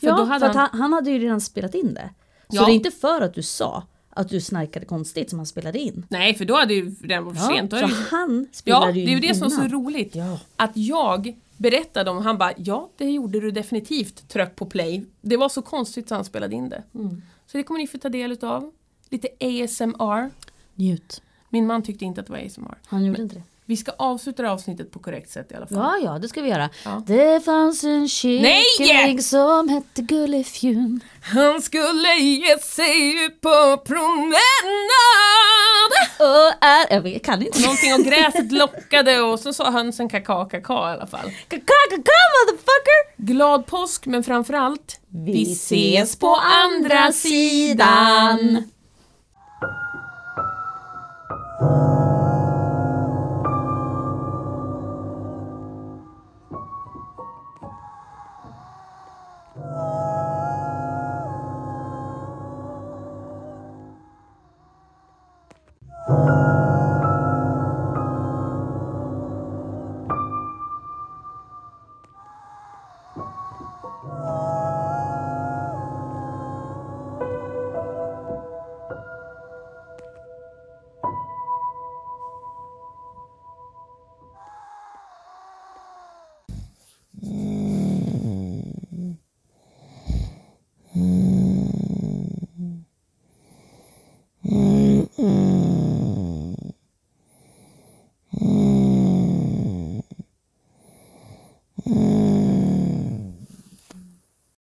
Speaker 1: För
Speaker 2: ja,
Speaker 1: då hade
Speaker 2: för att
Speaker 1: han-
Speaker 2: han... han hade ju redan spelat in det. Så
Speaker 1: Ja.
Speaker 2: det är inte för att du sa att du snarkade konstigt som han spelade in.
Speaker 1: Nej, för då hade ju det redan varit för sent. Då
Speaker 2: så
Speaker 1: hade det ju-
Speaker 2: han
Speaker 1: Ja,
Speaker 2: spelade
Speaker 1: det
Speaker 2: ju
Speaker 1: är ju det som är så
Speaker 2: innan.
Speaker 1: roligt.
Speaker 2: Ja.
Speaker 1: Att jag berättade om, han bara ja det gjorde du definitivt, tryck på play. Det var så konstigt så han spelade in det.
Speaker 2: Mm.
Speaker 1: Så det kommer ni få ta del utav. Lite ASMR.
Speaker 2: Njut.
Speaker 1: Min man tyckte inte att det var ASMR.
Speaker 2: Han gjorde inte det.
Speaker 1: Vi ska avsluta det här avsnittet på korrekt sätt i alla fall.
Speaker 2: Ja, ja, det ska vi göra.
Speaker 1: Ja.
Speaker 2: Det fanns en
Speaker 1: Nej!
Speaker 2: kyckling som hette Gullefjun.
Speaker 1: Han skulle ge sig ut på promenad!
Speaker 2: Och är... Jag vet- kan inte.
Speaker 1: Någonting och gräset lockade och så sa hönsen kaka kaka i alla fall.
Speaker 2: Kaka, kaka, motherfucker!
Speaker 1: Glad påsk men framförallt, vi ses på andra sidan!